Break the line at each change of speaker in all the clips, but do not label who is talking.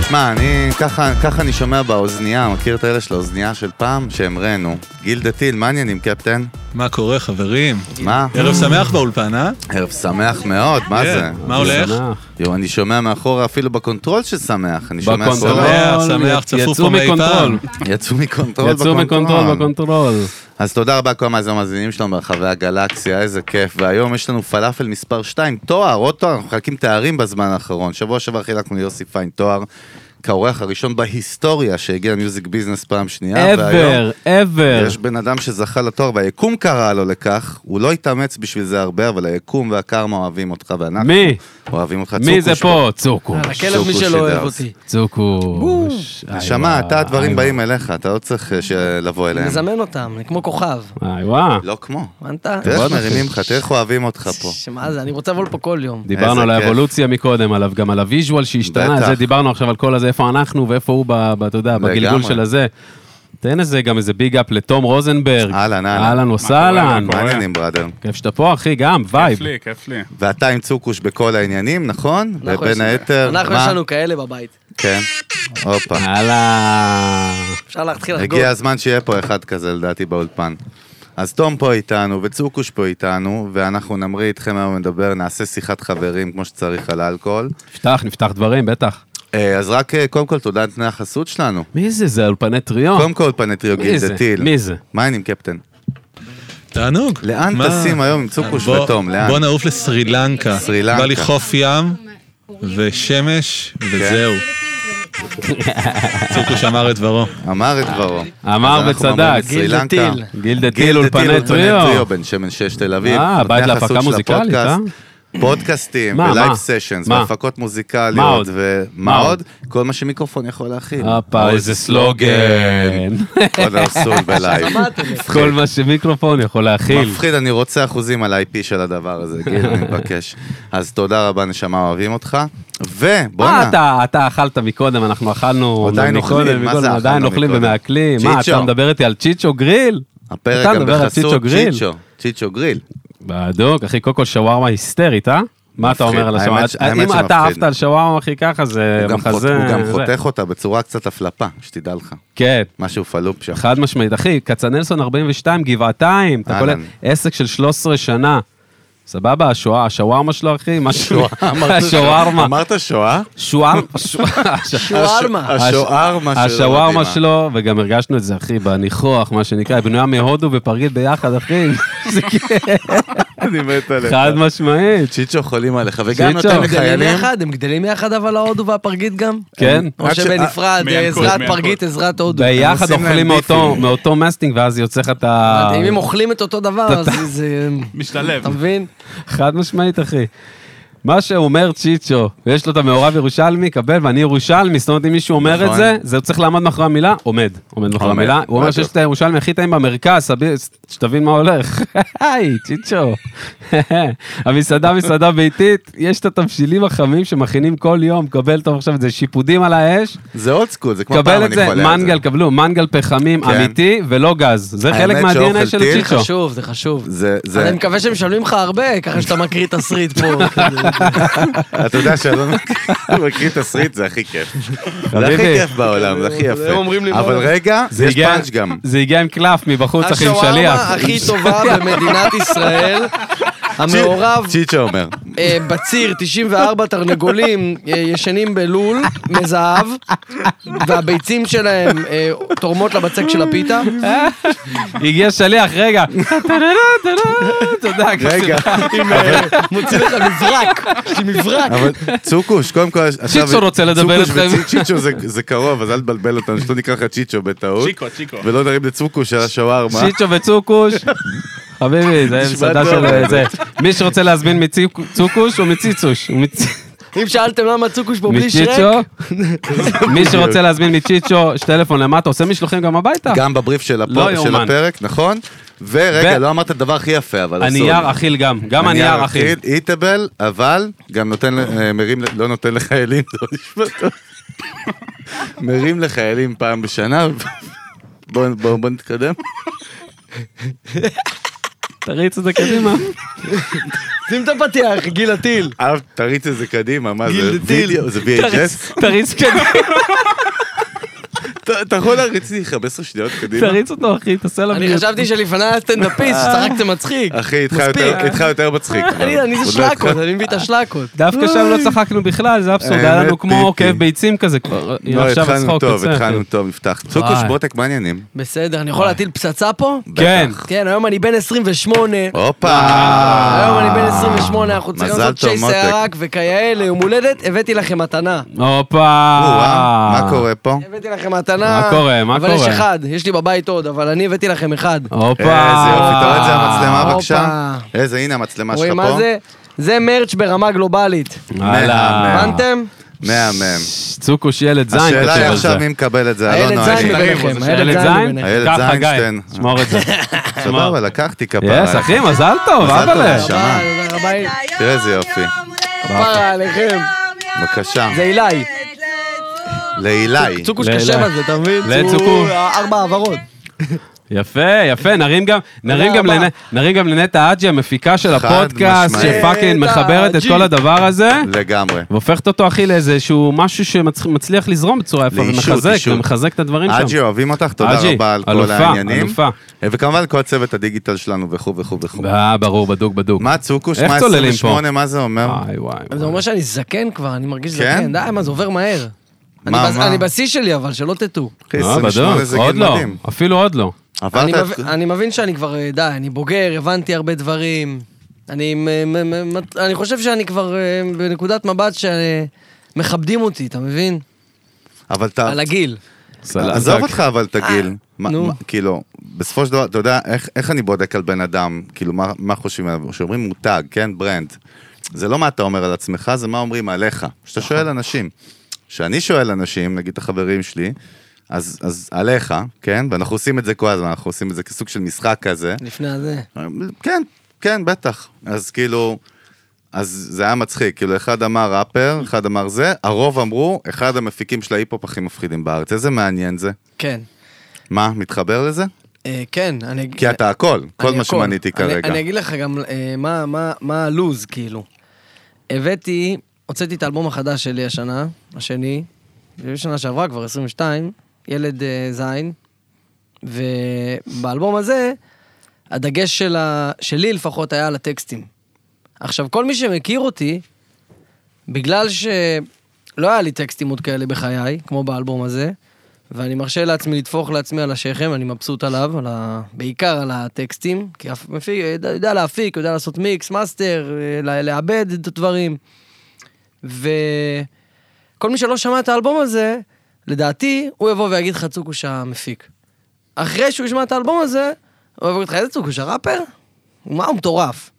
תשמע, אני, ככה, ככה אני שומע באוזנייה, מכיר את האלה של האוזנייה של פעם? שהם רנו. גיל דתיל, מה העניינים, קפטן?
מה קורה, חברים?
מה?
ערב שמח באולפן, אה?
ערב שמח מאוד, מה
כן,
זה?
מה הולך?
יו, אני שומע מאחורה אפילו בקונטרול ששמח. אני שומע
בקונטרול.
סולר.
שמח, שמח, צפוף
יצאו
כמו מאי
מקונטרול.
פעם.
יצאו מקונטרול
יצאו מקונטרול בקונטרול.
אז תודה רבה לכל המאזינים המאזינים שלנו ברחבי הגלקסיה, איזה כיף. והיום יש לנו פלאפל מספר 2, תואר, עוד תואר, אנחנו מחלקים תארים בזמן האחרון. שבוע שעבר חילקנו ליוסי פיין תואר, כאורח הראשון בהיסטוריה שהגיע למיוזיק ביזנס פעם שנייה. אה, והיום
ever, ever.
יש בן אדם שזכה לתואר והיקום קרא לו לכך, הוא לא התאמץ בשביל זה הרבה, אבל היקום והקרמה אוהבים אותך ואנחנו
מי?
אוהבים אותך.
מי
צוקו
זה
שלך.
פה? צוקו.
על הכלב
סוקו
מי שלא
שידר.
אוהב אותי.
צוקוש.
נשמה, אתה הדברים באים אליך, אתה לא צריך אה, ש- לבוא אליהם.
נזמן אותם, אני כמו כוכב.
וואי וואי.
לא כמו.
הבנת?
תראה איך מרימים לך, תראה איך אוהבים אותך פה.
שמה זה, אני רוצה לבוא לפה כל יום.
דיברנו על
איזה כיף.
האבולוציה מקודם, עליו, גם על הוויז'ואל שהשתנה,
בטח.
על זה דיברנו עכשיו על כל הזה, איפה אנחנו ואיפה הוא, ב- ב- אתה יודע, בגלגול
לגמרי.
של הזה. תן איזה גם איזה ביג אפ לתום רוזנברג.
אהלן, אהלן.
אהלן וסהלן.
מה העניינים, בראדר?
כיף שאתה פה, אחי, גם, וייב.
כיף לי, כיף לי.
ואתה עם צוקוש בכל העניינים, נכון?
אנחנו יש-
ובין היתר,
אנחנו יש
מה?
לנו כאלה בבית.
כן. הופה.
אהלן.
אפשר להתחיל לחגוג.
הגיע הזמן שיהיה פה אחד כזה, לדעתי, באולפן. אז תום פה איתנו, וצוקוש פה איתנו, ואנחנו נמריא איתכם היום לדבר, נעשה שיחת חברים כמו שצריך על אלכוהול.
נפתח, נפתח דברים, בטח.
אה, אז רק, אה, קודם כל, תודה על תנאי החסות שלנו.
מי זה? זה אולפני טריו?
קודם כל, פנטריו
אה. מי זה?
גילדטיל.
מי זה?
מה העניינים, קפטן?
תענוג.
לאן
מה?
טסים היום עם צוקוש
בוא-
ותום? לאן?
בוא נעוף לסרי לנקה.
סרי לנקה.
בא לי חוף ים ושמש וזהו. צוקוש אמר את דברו.
אמר את דברו.
אמר
אז אנחנו
וצדק.
ממליץ, סרי
גיל
לנקה.
דתיל.
גיל דה
גיל
טיל אולפני טריו.
בן שמן שש תל אביב.
אה,
נותני
בית להפקה
החסות של
מוזיקלית,
הפודקאסט.
אה?
פודקאסטים,
מה,
ולייב
מה?
סשנס,
מה?
והפקות
מה
מוזיקליות,
עוד?
ומה
מה
עוד? כל מה שמיקרופון יכול להכיל.
הופה, איזה סלוגן.
עוד ארסול בלייב.
כל מה שמיקרופון יכול להכיל.
מפחיד, אני רוצה אחוזים על IP של הדבר הזה, גיל, אני מבקש. אז תודה רבה, נשמה, אוהבים אותך.
מה
ובואנה,
אה, אתה, אתה אכלת מקודם, אנחנו אכלנו
עדיין
מקודם,
אוכלים, מה זה
מקודם,
אכלנו
עדיין אוכלים
מקודם?
ומעכלים. מה,
צ'יצ'ו.
אתה מדבר איתי על צ'יצ'ו גריל?
הפרק
אתה
גם
מדבר על צ'יצ'ו
בחסות
גריל?
צ'יצ'ו, צ'יצ'ו גריל.
בדוק, אחי, קודם כל שווארמה היסטרית, אה? מה אתה
מפחיד.
אומר על
האמת
השווארמה?
ש- האמת
אם
שמפחיד.
אתה עפת על שווארמה, אחי, ככה זה
הוא גם חות-
מחזה...
הוא גם
זה.
חותך אותה בצורה קצת הפלפה, שתדע לך.
כן.
משהו פלופ שם.
חד משמעית, אחי, כצנלסון 42, גבעתיים, אתה
אהלן.
קולט עסק של 13 שנה. סבבה, השואה, השווארמה שלו, אחי, משהו, השווארמה,
אמרת שואה?
שווארמה, השווארמה.
שוארמה.
השוארמה שלו.
השווארמה
מדהימה.
שלו, וגם הרגשנו את זה, אחי, בניחוח, מה שנקרא, היא בנויה מהודו ופרגית ביחד, אחי, זה כיף,
אני מת עליך.
חד משמעית.
צ'יצ'ו חולים עליך, וגם
צ'יצ'ו.
נותן
הם גדלים
לחיילים.
יחד, הם גדלים יחד אבל ההודו והפרגית גם?
כן.
או
רק ש- אה,
שבנפרד,
מי ינקוד,
עזרת
מי
פרגית,
ינקוד.
עזרת הודו.
ביחד
עושים להם
אוכלים מאותו-
ביפים.
מאותו מסטינג, ואז יוצא לך את ה...
אם הם אוכלים את אותו דבר, אז זה...
משתלב.
אתה מבין?
חד משמעית, אחי. מה שאומר צ'יצ'ו, ויש לו את המעורב ירושלמי, קבל, ואני ירושלמי, זאת אומרת, אם מישהו אומר
נכון.
את זה, זה צריך לעמוד מאחורי המילה, עומד. עומד מאחורי
עומד,
המילה, הוא אומר
בדיוק.
שיש את הירושלמי הכי טעים במרכז, סביר, ש- שתבין מה הולך. היי, צ'יצ'ו. המסעדה, מסעדה ביתית, יש את התבשילים החמים שמכינים כל יום, קבל טוב עכשיו, זה שיפודים על האש,
זה אולד סקול, זה כמו פעם,
קבל את
אני
זה,
חולה על זה.
מנגל, קבלו, מנגל פחמים
כן.
אמיתי ולא גז. זה חלק
האמת שאוכל
מה-DNA של
טיל
זה
צ'יצ'ו.
חשוב, זה חשוב.
זה,
אני
זה,
מקווה שהם משלמים לך הרבה, ככה שאתה מקריא תסריט פה.
אתה יודע שאלון מקריא תסריט, זה הכי כיף. זה הכי
חביבי.
כיף בעולם, זה הכי
הם אומרים לי,
יפה. אבל
"בואנה".
רגע,
זה
יש
הגיע-
פאנץ' גם.
זה הגיע עם קלף מבחוץ, אחי, עם שליח.
השווארמה הכי טובה במדינת ישראל. המעורב
צ'יצ'ו אומר.
אה, בציר 94 תרנגולים אה, ישנים בלול מזהב, והביצים שלהם אה, תורמות לבצק של הפיתה.
הגיע שליח, רגע. תודה,
רגע, אה,
מוציא לך מברק, יש לי מברק.
אבל צוקוש, קודם כל, עכשיו...
צ'יצ'ו רוצה לדבר
צוקוש
איתכם.
וצ'יצ'ו זה- זה קרוב, אז אל תבלבל אותנו, שלא נקרא לך צ'יצ'ו בטעות.
צ'יקו, צ'יקו.
לא.
ולא נרים לצוקוש על השווארמה.
שיצ'ו וצוקוש. חביבי, זה
נשמע
מסעדה
טוב.
של אה, זה. מי שרוצה להזמין מצוקוש או מציצוש. הוא מצ-
אם שאלתם למה צוקוש פה בלי שרק,
מצ'יצ'ו. מי שרוצה להזמין מצ'יצ'ו, יש טלפון למטה, עושה משלוחים גם הביתה.
גם בבריף של הפו-
לא
של
יאומן.
הפרק, נכון? ורגע,
ו-
לא אמרת את הדבר הכי יפה, אבל... אסור לי.
הנייר אכיל גם, גם הנייר אכיל.
איטבל, אבל גם נותן, ל- אה, מרים, ל- לא נותן לחיילים, זה לא נשמע טוב. מרים לחיילים פעם בשנה, בואו בוא, בוא נתקדם.
תריץ את זה קדימה.
שים את הפתיח, גיל הטיל.
אהב, תריץ את זה קדימה, מה זה?
גיל טיל.
וידאו, זה VHS?
תריץ קדימה,
אתה- אתה יכול להריץ לי 15 שניות קדימה?
תריץ אותו, אחי, תעשה לו...
אני
מיוט.
חשבתי שלפני היה סטנדאפיסט,
אה.
שצחקתם מצחיק.
אחי, איתך
מספיק.
יותר- איתך יותר מצחיק. כבר.
אני אני
עוד
זה
לא
שלקות,
התחלתי.
אני מביא את השלקות.
דווקא שם
אה.
לא צחקנו בכלל, זה אבסורד, היה
האמת,
לנו כמו
פיפי.
עוקב ביצים כזה כבר. הנה,
לא,
עכשיו
התחלנו
הצחוק
טוב,
יוצא.
התחלנו טוב, נפתח. צוקוש
וואי.
בוטק, מה העניינים?
בסדר, אני יכול להטיל פצצה פה?
אה. כן. אה.
בטח.
כן, היום אני בן 28.
הופה!
היום אני בן 28, אנחנו
אה,
צריכים
מזל
לעשות
טוב,
צ'ייס
מותק.
הערק וכאלה, יום הולדת, הבאתי לכם מתנה.
הופה.
או-אה, מה קורה פה?
הבאתי לכם מתנה.
מה קורה? מה
אבל
קורה?
יש אחד, יש לי בבית עוד, אבל אני הבאתי לכם אחד.
אה,
הופה.
איזה יופי, תראה את זה המצלמה
הופה.
בבקשה. איזה, הנה המצלמה שלך פה.
רואים מה זה? זה מרץ' ברמה גלובלית.
הלאה.
מהמם.
הבנתם?
מהמם.
ש- צוקוש ילד זין כותב על זה.
השאלה היא עכשיו מי מקבל את זה,
הילד
אלונו,
זין
אני...
מבין. ביניכם, הילד
אה,
הילד
זין
זין?
מביניכם.
הילד
ככה,
זין,
גיא,
שתיהן.
שמור את זה. שמור.
סבבה, לקחתי כפרה.
יס, אחי, מזל טוב,
מזל טוב,
אבאלה.
נשמה. אה, שמע. אה,
תודה תודה רבה.
תראה איזה יופי.
כפרה עליכם.
בבקשה.
זה אילי.
לאילי.
צוקוש
לאלה.
קשה בזה, אתה מבין?
לאלה
הוא
צוקו.
ארבע העברות.
יפה, יפה, נרים גם- נרים גם
רבה.
לנ- נרים גם לנטע אג'י, המפיקה של
חד
הפודקאסט,
משמעית.
שפאקינג
נטע
מחברת את
אג'י.
כל הדבר הזה.
לגמרי.
והופכת אותו, אחי, לאיזה שהוא משהו שמצליח לזרום בצורה יפה,
לאישות,
ומחזק,
אישות.
ומחזק את הדברים שם.
אג'י, אוהבים אותך, תודה
אג'י,
רבה על כל
אלופה,
העניינים. אה,
אלופה.
וכמובן כל צוות הדיגיטל שלנו וכו' וכו' וכו'.
אה, ברור, בדוק, בדוק.
מה צוקוש?
איך
מה
צוללים אה,
28? מה זה אומר?
וואי, וואי.
זה אומר שאני זקן כבר, אני מרגיש
כן?
זקן. די, מה, זה עובר מהר. אני
מה,
בס-
מה?
אני בשיא שלי, אבל שלא תטעו.
אחי,
אה,
28 זה
בדוק, עוד
גיל
לא,
מדהים.
אפילו עוד לא.
עברת
אני
את...
מב- אני מבין שאני כבר, אה, די, אני בוגר, הבנתי הרבה דברים. אני מ- מ- מ- מ- אני חושב שאני כבר אה, בנקודת מבט שמכבדים אותי, אתה מבין?
אבל אתה...
על הגיל.
סלאם
עזוב
דק.
אותך אבל את הגיל. מה-
נו.
מה- כאילו, בסופו של דבר, אתה יודע, איך- איך אני בודק על בן אדם? כאילו, מה- מה חושבים עליו? כשאומרים מותג, כן, ברנד. זה לא מה אתה אומר על עצמך, זה מה אומרים עליך. כשאתה שואל אנשים. כשאני שואל אנשים, נגיד את החברים שלי, אז, אז עליך, כן? ואנחנו עושים את זה כל הזמן, אנחנו עושים את זה כסוג של משחק כזה.
לפני הזה.
כן, כן, בטח. אז כאילו, אז זה היה מצחיק, כאילו, אחד אמר ראפר, אחד אמר זה, הרוב אמרו, אחד המפיקים של ההיפ-הופ הכי מפחידים בארץ. איזה מעניין זה.
כן.
מה, מתחבר לזה?
אה, כן, אני...
כי אתה הכל, כל
אני
מה
הכל.
שמניתי
אני-
כרגע.
אני אגיד לך גם אה, מה- מה- מה הלוז, כאילו. הבאתי, הוצאתי את האלבום החדש שלי השנה, השני, בשנה שעברה כבר 22, ילד אה, זין, ובאלבום הזה, הדגש של ה- שלי לפחות היה על הטקסטים. עכשיו, כל מי שמכיר אותי, בגלל שלא היה לי טקסטים עוד כאלה בחיי, כמו באלבום הזה, ואני מרשה לעצמי לטפוח לעצמי על השכם, אני מבסוט עליו, על ה... בעיקר על הטקסטים, כי אף מפיק, יודע, יודע להפיק, יודע לעשות מיקס, מאסטר, אה, ל- לעבד את הדברים. וכל מי שלא שמע את האלבום הזה, לדעתי, הוא יבוא ויגיד לך צוקוש המפיק. אחרי שהוא ישמע את האלבום הזה, הוא יבוא ויגיד לך, איזה צוקוש, הראפר? מה, הוא מטורף.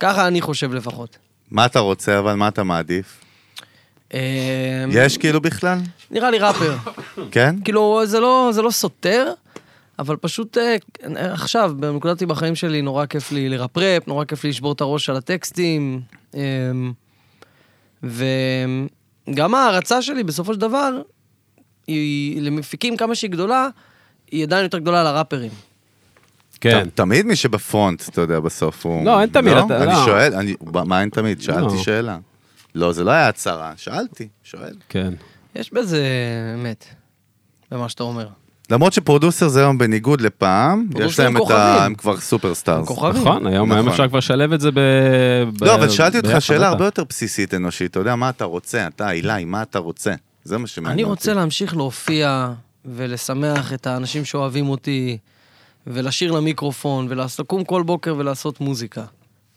ככה אני חושב לפחות.
מה אתה רוצה, אבל מה אתה מעדיף?
אה,
יש כאילו בכלל?
נראה לי ראפר.
כן?
כאילו, זה לא, זה לא סותר, אבל פשוט אה, עכשיו, בנקודת בחיים שלי, נורא כיף לי לרפרפ, נורא כיף לי לשבור את הראש על הטקסטים. אה, וגם ההערצה שלי, בסופו של דבר, היא למפיקים כמה שהיא גדולה, היא עדיין יותר גדולה לראפרים.
כן.
ת- תמיד מי שבפרונט, אתה יודע, בסוף הוא...
לא, אין תמיד, אתה-
אני
לא.
שואל, אני- מה אין תמיד? שאלתי
לא.
שאלה. לא, זה לא היה הצהרה, שאלתי, שואל.
כן.
יש בזה אמת, במה שאתה אומר.
למרות שפרודוסר זה היום בניגוד לפעם, יש
פרודוסר
להם
הם
את ה...
כוכבים.
הם כבר סופרסטארס.
כוכבים.
נכון, היום
נכון.
היום אפשר כבר לשלב את זה ב... ב-
לא, אבל שאלתי אותך
ביחד,
שאלה
אתה.
הרבה יותר בסיסית אנושית, אתה יודע, מה אתה רוצה? אתה, אילי, מה אתה רוצה? זה מה שמעניין.
אני
אותי.
רוצה להמשיך להופיע ולשמח את האנשים שאוהבים אותי, ולשיר למיקרופון, ולקום כל בוקר ולעשות מוזיקה.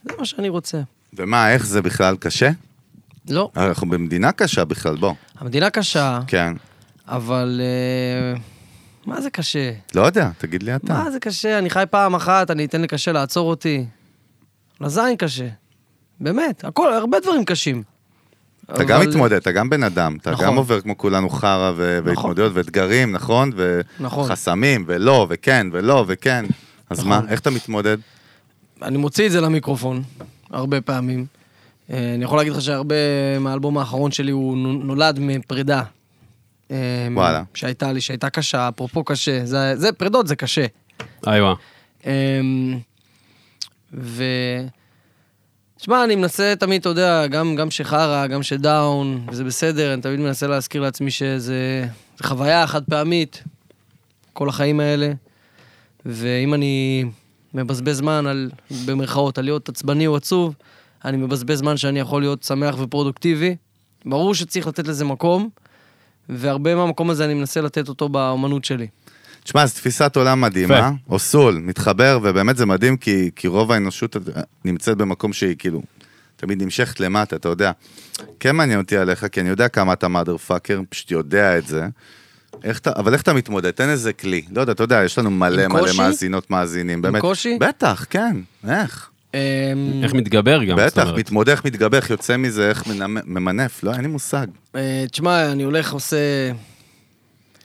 זה מה שאני רוצה.
ומה, איך זה בכלל קשה?
לא,
אנחנו במדינה קשה בכלל, בוא.
המדינה קשה,
כן.
אבל... אה, מה זה קשה?
לא יודע, תגיד לי אתה.
מה זה קשה? אני חי פעם אחת, אני אתן לקשה לעצור אותי. לזין קשה. באמת, הכל, הרבה דברים קשים.
אתה גם
אבל-
מתמודד, אתה גם בן אדם, אתה
נכון.
גם עובר כמו כולנו חרא ו- והתמודדויות ואתגרים, נכון? ו-
נכון.
חסמים, ולא, וכן, ולא, וכן. אז מה, איך אתה מתמודד?
אני מוציא את זה למיקרופון, הרבה פעמים. אה, אני יכול להגיד לך שהרבה מהאלבום האחרון שלי הוא נו- נולד מפרידה. אה,
וואלה.
שהייתה לי, שהייתה קשה, אפרופו קשה. זה, זה פרידות זה קשה.
אה, איי, וואי.
אמ, ו... שמע, אני מנסה תמיד, אתה יודע, גם, גם שחרא, גם שדאון, וזה בסדר, אני תמיד מנסה להזכיר לעצמי שזה זה חוויה חד פעמית, כל החיים האלה. ואם אני מבזבז זמן על, במרכאות, על להיות עצבני או עצוב, אני מבזבז זמן שאני יכול להיות שמח ופרודוקטיבי. ברור שצריך לתת לזה מקום, והרבה מהמקום הזה אני מנסה לתת אותו באומנות שלי.
תשמע, זו תפיסת עולם מדהימה, אוסול, מתחבר, ובאמת זה מדהים, כי, כי רוב האנושות נמצאת במקום שהיא כאילו, תמיד נמשכת למטה, אתה יודע. כן מעניין אותי עליך, כי אני יודע כמה אתה מאדר פאקר, פשוט יודע את זה. איך אתה, אבל איך אתה מתמודד? תן איזה כלי. לא יודע, אתה יודע, יש לנו מלא
עם
מלא
קושי?
מאזינות מאזינים, באמת.
קושי?
בטח, כן, איך?
אמ,
איך מתגבר גם, זאת
בטח,
אומרת.
מתמודד, איך מתגבר, איך יוצא מזה, איך מנמ- ממנף, לא, אין לי מושג.
אה, תשמע, אני הולך עושה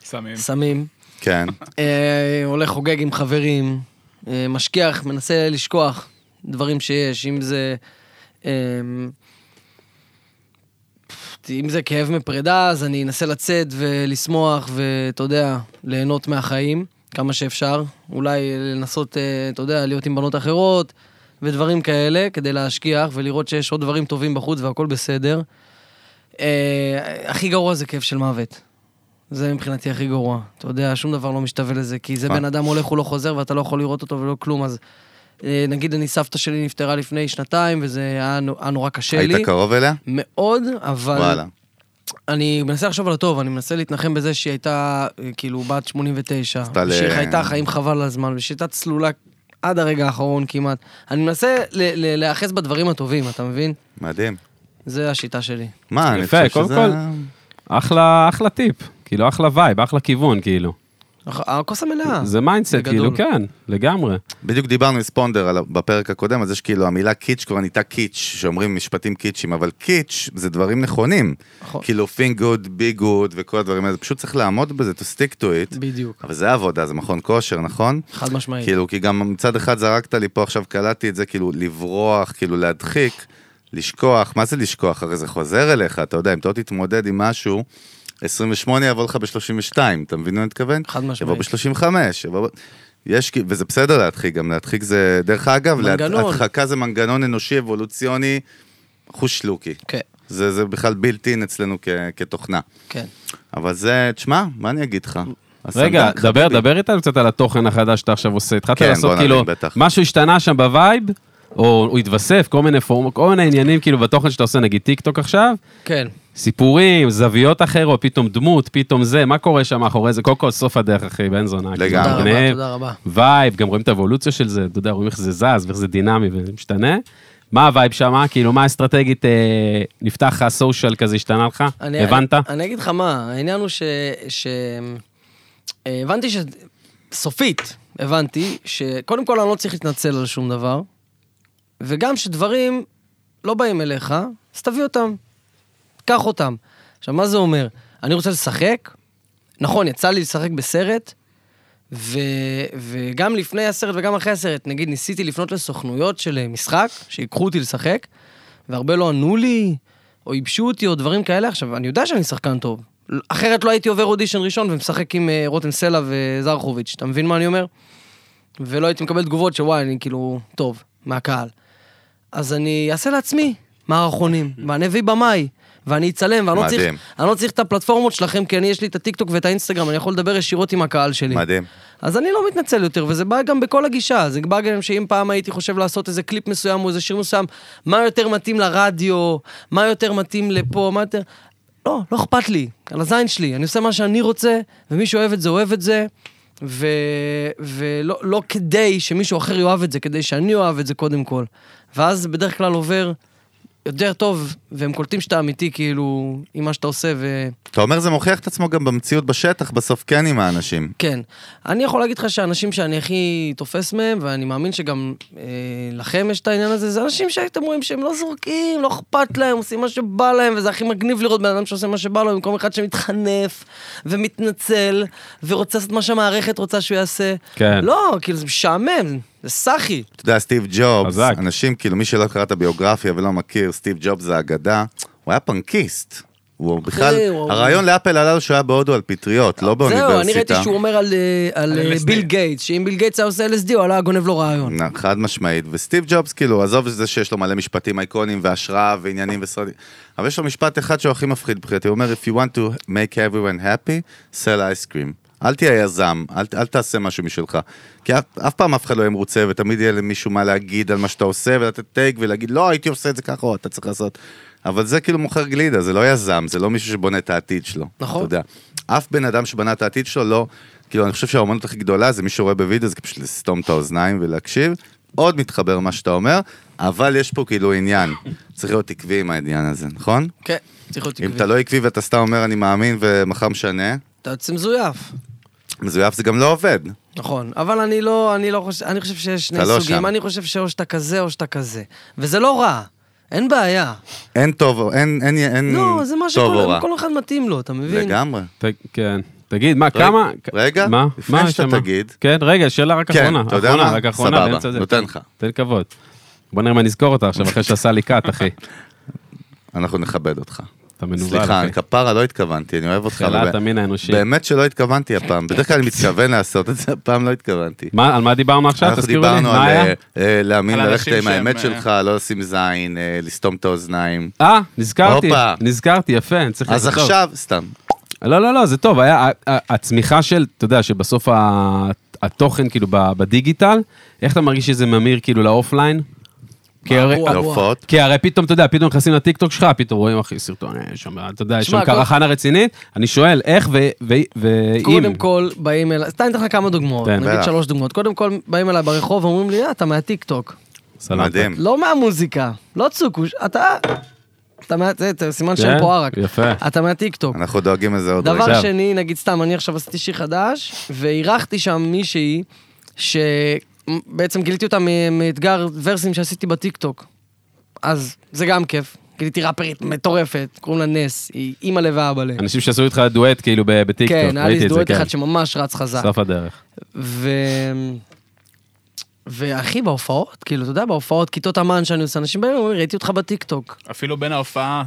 סמים.
סמים,
כן,
אה, הולך חוגג עם חברים, אה, משכיח, מנסה לשכוח דברים שיש, אם זה... אה, אם זה כאב מפרידה, אז אני אנסה לצאת ולשמוח ואתה יודע, ליהנות מהחיים כמה שאפשר. אולי לנסות, אה, אתה יודע, להיות עם בנות אחרות ודברים כאלה, כדי להשכיח ולראות שיש עוד דברים טובים בחוץ והכול בסדר. אה, הכי גרוע זה כאב של מוות. זה מבחינתי הכי גרוע. אתה יודע, שום דבר לא משתווה לזה, כי זה
מה?
בן אדם הולך, הוא לא חוזר, ואתה לא יכול לראות אותו ולא כלום, אז... אה, נגיד אני, סבתא שלי נפטרה לפני שנתיים, וזה היה נו- היה נורא קשה לי.
היית קרוב אליה?
מאוד, אבל...
וואלה.
אני מנסה לחשוב על הטוב, אני מנסה להתנחם בזה שהיא הייתה אה, כאילו בת 89,
עשתה ל-
שהיא חייתה חיים חבל על הזמן, ושהייתה צלולה עד הרגע האחרון כמעט. אני מנסה ל- ל- להיאחז בדברים הטובים, אתה מבין?
מדהים.
זה השיטה שלי.
מה, אני
יפה,
חושב
קודם
שזה...
כל. אחלה, אחלה טיפ. כאילו, אחלה וייב, אחלה כיוון, כאילו.
הכ- הכוס המלאה.
אה,
זה מיינדסט,
בגדול.
כאילו, כן, לגמרי.
בדיוק דיברנו עם ספונדר על, בפרק הקודם, אז יש כאילו המילה קיץ' כבר נהייתה קיץ', שאומרים משפטים קיצ'ים, אבל קיץ' זה דברים נכונים.
נכון.
כאילו פינג גוד, בי גוד וכל הדברים האלה, פשוט צריך לעמוד בזה, to stick to it.
בדיוק,
אבל זה עבודה, זה מכון כושר, נכון?
חד משמעית.
כאילו, כי גם מצד אחד זרקת לי פה, עכשיו קלטתי את זה, כאילו, לברוח, כאילו להדחיק, לשכוח, מה זה לשכוח? הרי זה חוזר אליך, אתה יודע, אם אתה לא תתמודד עם משהו, 28 יבוא לך ב-32, אתה מבין מה אני מתכוון?
חד
יבוא
משמעית.
ב-35, יבוא... ב- יש, כי- וזה בסדר להדחיק, גם להדחיק זה, דרך אגב, להד-
מנגנון.
הדחקה זה מנגנון אנושי, אבולוציוני, חושלוקי.
כן,
זה, זה בכלל בילט אין אצלנו כ, כתוכנה.
כן.
אבל זה, תשמע, מה אני אגיד לך?
רגע,
הסנדק,
דבר,
חביבי.
דבר איתנו קצת על התוכן החדש שאתה עכשיו עושה. התחלת
כן, בוא
לעשות,
נבין,
כאילו,
בטח.
משהו השתנה שם בווייב, או הוא התווסף, כל מיני פורמ- כל מיני עניינים, כאילו, בתוכן שאתה עושה, נגיד טיקטוק עכשיו,
כן.
סיפורים, זוויות אחרות, פתאום דמות, פתאום זה, מה קורה שם מאחורי זה? קודם כל, סוף הדרך, אחי, בן זונה. כאילו,
לגמרי.
תודה רבה,
מגניב.
תודה רבה.
וייב, גם רואים את האבולוציה של זה, אתה יודע, רואים איך זה זז ואיך זה דינמי ומשתנה. מה הווייב שם? כאילו, מה האסטרטגית, אה, נפתח לך סושיאל כזה, השתנה לך?
אני-
הבנת?
אני, אני אגיד לך מה, העניין הוא ש... ש... אה, הבנתי ש... סופית, הבנתי שקודם כל אני לא צריך להתנצל על שום דבר, וגם שדברים לא באים אליך, אז תביא אותם, קח אותם. עכשיו, מה זה אומר? אני רוצה לשחק, נכון, יצא לי לשחק בסרט, ו... וגם לפני הסרט וגם אחרי הסרט, נגיד ניסיתי לפנות לסוכנויות של אה, משחק, שיקחו אותי לשחק, והרבה לא ענו לי, או ייבשו אותי, או דברים כאלה. עכשיו, אני יודע שאני שחקן טוב. אחרת לא הייתי עובר אודישן ראשון ומשחק עם אה, רותם סלע וזרחוביץ', אתה מבין מה אני אומר? ולא הייתי מקבל תגובות שוואי, אני כאילו טוב, מהקהל. אז אני אעשה לעצמי מערכונים, ואני אביא במאי, ואני אצלם, ואני לא צריך,
מדהים.
אני לא צריך את הפלטפורמות שלכם, כי אני, יש לי את הטיקטוק ואת האינסטגרם, אני יכול לדבר ישירות עם הקהל שלי.
מדהים.
אז אני לא מתנצל יותר, וזה בא גם בכל הגישה. זה בא גם שאם פעם הייתי חושב לעשות איזה קליפ מסוים או איזה שיר מסוים, מה יותר מתאים לרדיו, מה יותר מתאים לפה, מה יותר... לא, לא אכפת לי, על הזין שלי. אני עושה מה שאני רוצה, ומי שאוהב את זה, אוהב את זה. ו... ולא לא כדי שמישהו אחר יאהב את זה, כדי שאני אוהב את זה קודם כל. ואז בדרך כלל עובר יותר טוב, והם קולטים שאתה אמיתי, כאילו, עם מה שאתה עושה, ו...
אתה אומר זה מוכיח את עצמו גם במציאות בשטח, בסוף כן עם האנשים.
כן. אני יכול להגיד לך שהאנשים שאני הכי תופס מהם, ואני מאמין שגם אה, לכם יש את העניין הזה, זה אנשים שאתם רואים שהם לא זורקים, לא אכפת להם, עושים מה שבא להם, וזה הכי מגניב לראות בן אדם שעושה מה שבא לו, במקום אחד שמתחנף ומתנצל, ורוצה לעשות מה שהמערכת רוצה שהוא יעשה.
כן.
לא, כאילו זה משעמם, זה סאחי.
אתה יודע, סטיב ג'ובס,
חזק.
אנשים, כאילו, מי שלא קרא את הביוגרפיה ולא מכיר, סטיב ג'ובס זה אגדה, הוא היה פנקיסט. הוא בכלל,
הוא-
הרעיון לאפל עלה לו שהוא היה בהודו על פטריות, לא באוניברסיטה.
זהו, אני ראיתי שהוא אומר על, אה, על
על
אה,
LSD.
ביל גייטס, שאם ביל גייטס היה עושה LSD, הוא עלה גונב לו רעיון.
נ- חד משמעית, וסטיב ג'ובס, כאילו, עזוב את זה שיש לו מלא משפטים אייקונים והשראה ועניינים וסרטים, אבל יש לו משפט אחד שהוא הכי מפחיד מבחינתי, הוא אומר, If you want to make everyone happy, sell ice cream. אל תהיה יזם, אל, ת- אל תעשה משהו משלך. כי אף, אף פעם אף אחד לא יהיה מרוצה, ותמיד יהיה למישהו מה להגיד על מה שאתה עושה, ולתת טייק ולהגיד, לא, הייתי עושה את זה ככה, או אתה צריך לעשות. אבל זה כאילו מוכר גלידה, זה לא יזם, זה לא מישהו שבונה את העתיד שלו.
נכון.
אתה יודע. אף בן אדם שבנה את העתיד שלו לא, כאילו אני חושב שהאומנות הכי גדולה זה מי שרואה בווידאו, זה פשוט לסתום את האוזניים ולהקשיב. עוד מתחבר מה שאתה אומר, אבל יש פה כאילו עניין. צריך להיות עקבי עם העניין הזה, נכון?
כן, צריך להיות
אם
עקבי.
אתה לא עקבי ואתה סתם אומר אני מאמין ומחר משנה,
אתה יוצא מזויף.
מזויף זה גם לא עובד.
נכון, אבל אני לא, אני לא חושב, אני חושב שיש שני
אתה לא
סוגים,
שם.
אני חושב שאו שאתה כזה או שאתה כזה. וזה לא רע, אין בעיה.
אין טוב, או- אין, אין, אין
לא, זה מה
Hmm, טוב או
שכל
רע.
כל אחד מתאים לו, אתה מבין?
לגמרי.
ת- כן. תגיד, מה, כמה...
רגע,
מה?
לפני
מה
שאתה
שמה?
תגיד.
כן, רגע, שאלה רק
כן,
אחרונה.
אתה יודע
אחרונה,
מה?
רק אחרונה,
סבבה,
באמצע זה.
נותן לך.
תן כבוד. בוא נראה אם אני אזכור אותה עכשיו, אחרי שעשה לי קאט, אחי.
אנחנו נכבד אותך.
אתה מנוול,
סליחה,
אחי.
כפרה, לא התכוונתי, אני אוהב אותך.
שאלת
אבל-
המין האנושי.
באמת שלא התכוונתי הפעם, בדרך כלל אני מתכוון לעשות את זה, הפעם לא התכוונתי.
מה, על מה דיברנו עכשיו?
אנחנו
תזכירו לי,
דיברנו
מה
על
היה?
אה, אה, להאמין,
על
ללכת
אנשים
עם האמת
שהם, אה,
שלך, לא לשים זין, אה, לסתום את האוזניים.
אה, נזכרתי,
הופה.
נזכרתי, יפה, אני צריך
אז
לכתוב.
עכשיו, סתם,
לא, לא, לא, זה טוב, היה ה- ה- הצמיחה של, אתה יודע, שבסוף ה- התוכן, כאילו, ב- בדיגיטל, איך אתה מרגיש שזה ממיר, כאילו, לאופליין? כי הרי- לא.
וואו.
להופעות.
כי הרי פתאום, אתה יודע, פתאום נכנסים לטיקטוק שלך, פתאום רואים, אחי, סרטון, אה, שם, אתה יודע, יש
שמע,
שם
כל-
קרחנה רצינית, אני שואל, איך ו- ו- ואם...
קודם כל, באים אליי, סתם אתן לך כמה דוגמאות,
תן.
נגיד
בטח.
שלוש דוגמאות. קודם כל, באים אליי ברחוב, אומרים לי, "אה, אתה מהטיקטוק.
סלמת.
מדהים.
לא מהמוזיקה, לא צוקוש, אתה... אתה מה... זה זה סימן
כן,
של פה ערק.
יפה.
אתה מהטיקטוק.
אנחנו דואגים לזה עוד רגע.
דבר
עכשיו.
שני, נגיד סתם, אני עכשיו עשיתי שיר חדש, ואירחתי שם מישהי, שבעצם גיליתי אותה מ- מאתגר ורסים שעשיתי בטיקטוק. אז זה גם כיף. גיליתי ראפרית מטורפת, קוראים לה נס, היא אימא לב ואבא לב.
אנשים שעשו איתך דואט, כאילו, ב- בטיקטוק,
כן, היה
ראיתי
לי
את זה,
דואט
כן.
אחד שממש רץ חזק.
סוף הדרך.
ו... ואחי, בהופעות, כאילו, אתה יודע, בהופעות, כיתות אמן שאני עושה, אנשים באים ואומרים, ראיתי אותך בטיקטוק.
אפילו בין ההופעה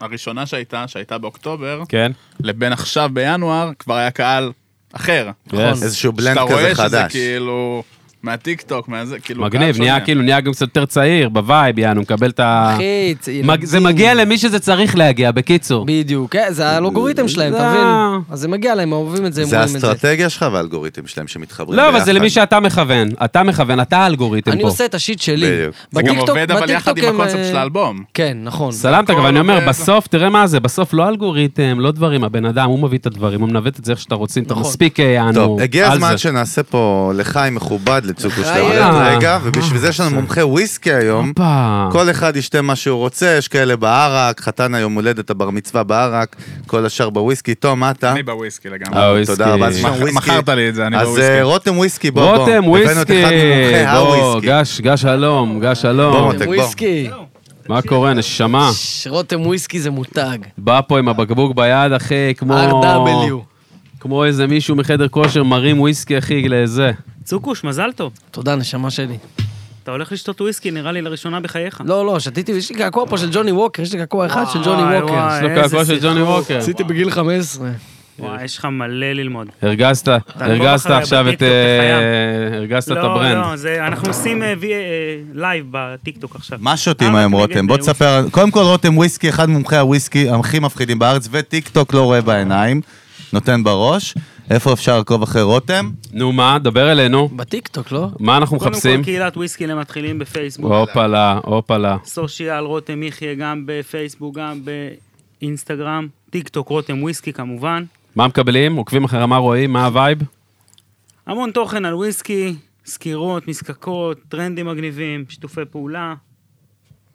הראשונה שהייתה, שהייתה באוקטובר,
כן?
לבין עכשיו בינואר, כבר היה קהל אחר.
נכון.
Yes.
איזשהו בלנד
שאתה
כזה
רואה שזה
חדש.
כאילו מהטיקטוק, מהזה, כאילו... קהל
מגניב,
שונה.
נהיה כאילו, נהיה גם קצת יותר צעיר, בווייב, יענו, מקבל את ה...
אחי, צ-
מג- זה מגיע למי שזה צריך להגיע, בקיצור.
בדיוק, כן, זה האלגוריתם שלהם,
זה
אתה
ה-
מבין? אז זה מגיע להם, הם אוהבים את זה, הם
זה
רואים את זה.
האסטרטגיה שלך והאלגוריתם שלהם שמתחברים
לא, אבל זה
ביחד.
למי שאתה מכוון. אתה מכוון, אתה האלגוריתם פה.
אני עושה את השיט שלי.
בדיוק.
זה גם
בטיקטוק-
עובד, אבל יחד
בטיקטוק
עם
הם,
הקונספט
אה,
של האלבום.
כן, נכון.
סלמת,
הכל
אבל אני אומר,
עובד.
בסוף, תראה מה זה, בסוף לא אלגוריתם, לא דברים, הבן אדם, הוא מביא את הדברים, הוא מנווט את זה איך שאתה רוצים, אתה
נכון.
מספיק, אה, יענו,
טוב, הגיע
על
הזמן
זה. אה,
שנעשה פה לחיים מכובד לצוקו
לחיים.
שאתה עולה רגע, ובשביל זה יש לנו מומחה וויסקי היום.
הופה.
כל אחד ישתה מה שהוא רוצה, יש כאלה בערק, חתן היום הולדת, הבר מצווה בערק, כל השאר בוויסקי. תום, מה אתה?
אני בוויסקי לגמרי.
אה, וויסקי.
תודה רבה, אז יש לנו
מח-
וויסקי.
מכרת לי את זה, אני
אז
בוויסקי.
אה, רותם וויסקי, בוא, בוא.
רותם,
הבאנו את
וויסקי,
אחד ממומחי
בוא,
הוויסקי.
גש, גש שלום, גש
בוא,
שלום.
מותק, בוא.
וויסקי.
מה קורה, נשמה?
ש- רותם וויסקי זה מותג.
בא פה עם הבקבוק ביד, אחי, כמו...
RW.
כמו איזה מישהו מחדר כושר מרים וויסקי, אחי, לזה.
צוקוש, מזל טוב.
תודה, נשמה שלי.
אתה הולך לשתות וויסקי, נראה לי, לראשונה בחייך.
לא, לא, שתיתי, יש לי קעקוע פה של ג'וני ווקר, יש לי קעקוע אחד של ג'וני
וואי,
ווקר.
וואי.
יש לו
איזה
קעקוע של
שיחוק.
ג'וני ווקר.
עשיתי בגיל 15.
וואי, יש לך מלא ללמוד.
הרגזת,
לא
הרגזת
אחריה
עכשיו את...
בטיקטוק, אתה חייב.
אה, הרגזת את
לא,
הברנד.
לא, זה- אנחנו עושים אה, וי- אה, לייב בטיקטוק עכשיו.
מה שותים
ארבע
היום
נגד,
רותם? בוא
אה, וויסקי.
תספר, קודם כל רותם וויסקי, אחד ממומחי הוויסקי הכי מפחידים בארץ, וטיק טוק לא רואה בעיניים, נותן בראש. איפה אפשר לעקוב אחרי רותם?
נו מה, דבר אלינו.
בטיקטוק, לא?
מה אנחנו
קודם
מחפשים?
כל, קהילת וויסקי למתחילים בפייסבוק.
הופלה, הופלה.
סושיאל, רותם יחיא, גם בפייסבוק, גם באינסטגרם. טיקטוק, רותם וויסקי כמובן.
מה מקבלים? עוקבים אחרי מה רואים? מה הווייב?
המון תוכן על וויסקי, סקירות, מזקקות, טרנדים מגניבים, שיתופי פעולה.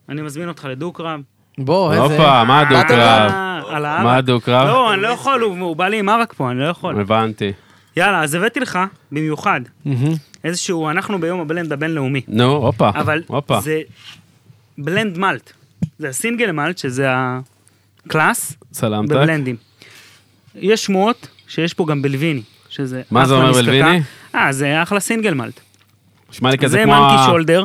אני מזמין אותך לדו-קרב.
בוא, איזה...
הופה, מה הדו-קרב?
אה, על הערק.
מה הדו-קרב?
לא, אני לא יכול, הוא הוא בא לי עם ערק פה, אני לא יכול.
הבנתי.
יאללה, אז הבאתי לך, במיוחד,
מהמם.
איזשהו, אנחנו ביום הבלנד הבינלאומי.
נו, הופה.
אבל
הופה.
זה בלנד מלט. זה הסינגל מלט, שזה הקלאס
סלמת.
בבלנדים. יש שמועות שיש פה גם בלוויני, שזה
מה זה
אחלה
אומר
מזקקה.
בלוויני?
אה, זה אחלה סינגל מלט.
נשמע לי כזה
זה
כמו... ה-
מנקי שולדר.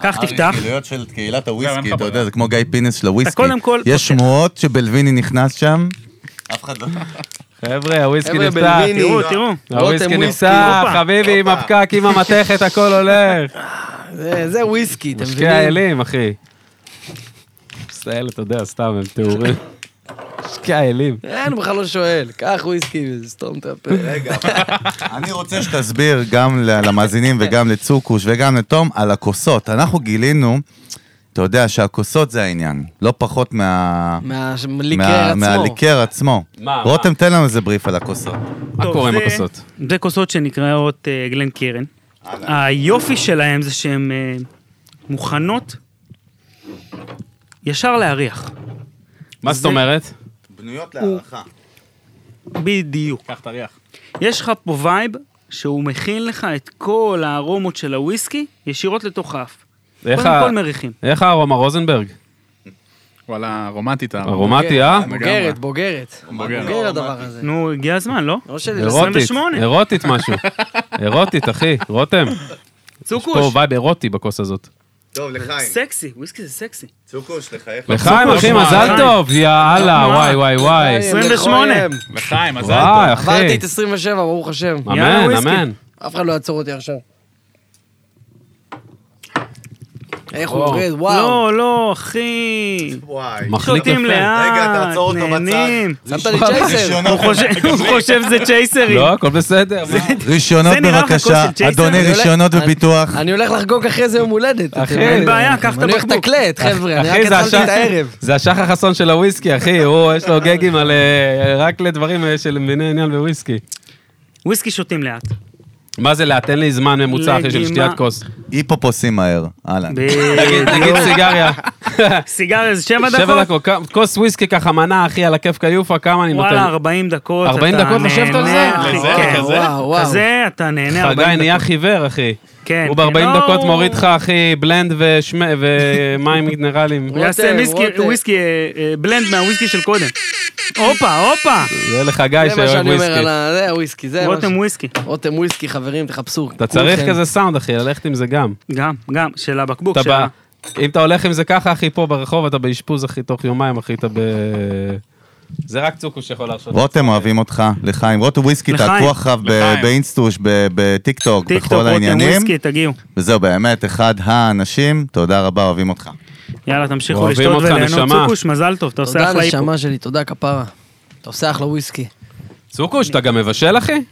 קח, תפתח.
הרכילויות של קהילת
אין
הוויסקי,
לך
אתה יודע,
ברירה.
זה כמו גיא פינס של הוויסקי.
קודם כל
יש שמועות שבלוויני נכנס שם. אף אחד לא...
חבר'ה, הוויסקי
חבר'ה,
נפתח.
בלוויני.
תראו, תראו.
הוויסקי
רותם וויסקי,
נפתח,
הופה.
חביבי, עם הפקק, עם המתכת, הכל הולך.
זה- זה וויסקי, אתם
משקי
מבינים?
האלים, אחי. מסתכל, אתה יודע, סתם, הם תיאורים. משקי האלים.
אין, הוא בכלל לא שואל. קח וויסקי וסתום את הפה. רגע.
אני רוצה שתסביר גם ל- למאזינים וגם לצוקוש וגם לתום על הכוסות. אנחנו גילינו, אתה יודע, שהכוסות זה העניין, לא פחות מה...
מהליקר
מה-
עצמו.
מהליקר עצמו.
מה,
רותם, תן לנו איזה בריף על הכוסות.
מה
טוב,
קורה עם
זה-
הכוסות?
זה כוסות שנקראות אה, גלן קרן. היופי שלהם זה שהן אה, מוכנות ישר להריח.
מה זאת אומרת?
בנויות להערכה.
בדיוק.
קח תריח.
יש לך פה וייב שהוא מכין לך את כל הארומות של הוויסקי ישירות לתוך האף.
איך
קודם
ה-
כל מריחים.
איך הארומה רוזנברג?
אה.
וואלה, רומנטית. ה-
אוקיי.
ארומטי, אה?
בוגרת, בוגרת.
בוגרת.
בוגר הדבר הזה.
נו, הגיע הזמן, לא?
לא שלי, לא
אירוטית,
28.
אירוטית משהו. אירוטית, אחי, רותם. יש
צוקוש.
פה וייב אירוטי בכוס הזאת.
טוב, לחיים.
סקסי, וויסקי זה סקסי.
צוקוש, לחייך.
לחיים, אחי,
מה,
מזל
לחיים?
טוב, יאללה,
מה?
וואי, וואי, וואי.
28.
לחיים, מזל
וואי,
טוב.
עברתי
אחי.
את 27, ברוך השם.
יאללה,
אמן,
וויסקי.
אמן.
אף אחד לא יעצור אותי עכשיו. איך הוא
וואו.
יורד, וואו.
לא, לא, אחי.
וואי.
מחליק
שותים
יפה.
רגע,
לאט,
תעצור אותו בצד.
נהנים.
שמת לי צ'ייסר.
רישיונות-
הוא חושב- הוא חושב זה צ'ייסרים.
לא, הכל בסדר. מה?
רישיונות
זה לא אה, נראה לך
בבקשה,
כוס של ג'ייסון?
אדוני
אני
הולך-
רישיונות
אני-
וביטוח.
אני הולך לחגוג אחרי זה יום הולדת.
אחי,
אתם-
אין בעיה, קח את
אני הולך
הבקבוק.
לתקלט, חבר'ה, אני רק
אחי, זה
התחלתי
השח-
את הערב.
זה השחר חסון של הוויסקי, אחי, הוא, יש לו גגים על... אה, רק לדברים אה, של מביני עניין בוויסקי.
וויסקי שותים לאט.
מה זה לאט? תן לי זמן ממוצע, אחי, של
לגימה.
שתיית כוס.
היפופוסים מהר, אהלן.
ב-
תגיד תגיד
לא.
סיגריה.
סיגריה זה 7 דקות?
שבע דקות, כ- כוס וויסקי ככה מנה, אחי, על הכיף כיופה, כמה אני
וואלה,
נותן?
40 דקות.
40
אתה
דקות לשבת על זה?
נהנה, אחי,
לזה,
כן.
כזה?
אה, וואו, וואו.
כזה, אתה נהנה 40 דקות.
חגי נהיה חיוור, אחי.
כן.
הוא ב-40
לא,
דקות
הוא-
מוריד לך, אחי, בלנד ושמ- ומים מינרלים.
הוא יעשה
רותם,
מיסקי-
רותם.
וויסקי, אה, אה, בלנד מהוויסקי של קודם. הופה, הופה.
זה לחגי
זה מה
שאוהב
שאני אומר
וויסקי.
על ה... זה הוויסקי, זה מה ש...
רותם וויסקי.
רותם וויסקי, חברים, תחפשו.
אתה צריך
כולכם.
כזה סאונד, אחי, ללכת עם זה גם.
גם, גם, של הבקבוק
אתה
שלה.
בא, אם אתה הולך עם זה ככה, אחי, פה ברחוב, אתה באשפוז, אחי, תוך יומיים, אחי, אתה ב... זה רק צוקו שיכול להרשות.
רותם אוהבים אותח, לחיים. רותם וויסקי,
לחיים.
תעקבו אחריו ב-
לחיים.
באינסטוש, ב- בטיקטוק,
טיק טוק,
בכל
רותם
העניינים.
וויסקי, תגיעו.
וזהו, באמת, אחד האנשים, תודה רבה, אוהבים אותך.
יאללה, תמשיכו
אוהבים
לשתות
אותך,
וליהנות.
נשמה.
צוקוש, מזל טוב, אתה עושה
תודה
אחלה היפו.
נשמה שלי, תודה כפרה. אתה עושה אחלה וויסקי.
צוקו, שאתה גם מבשל, אחי?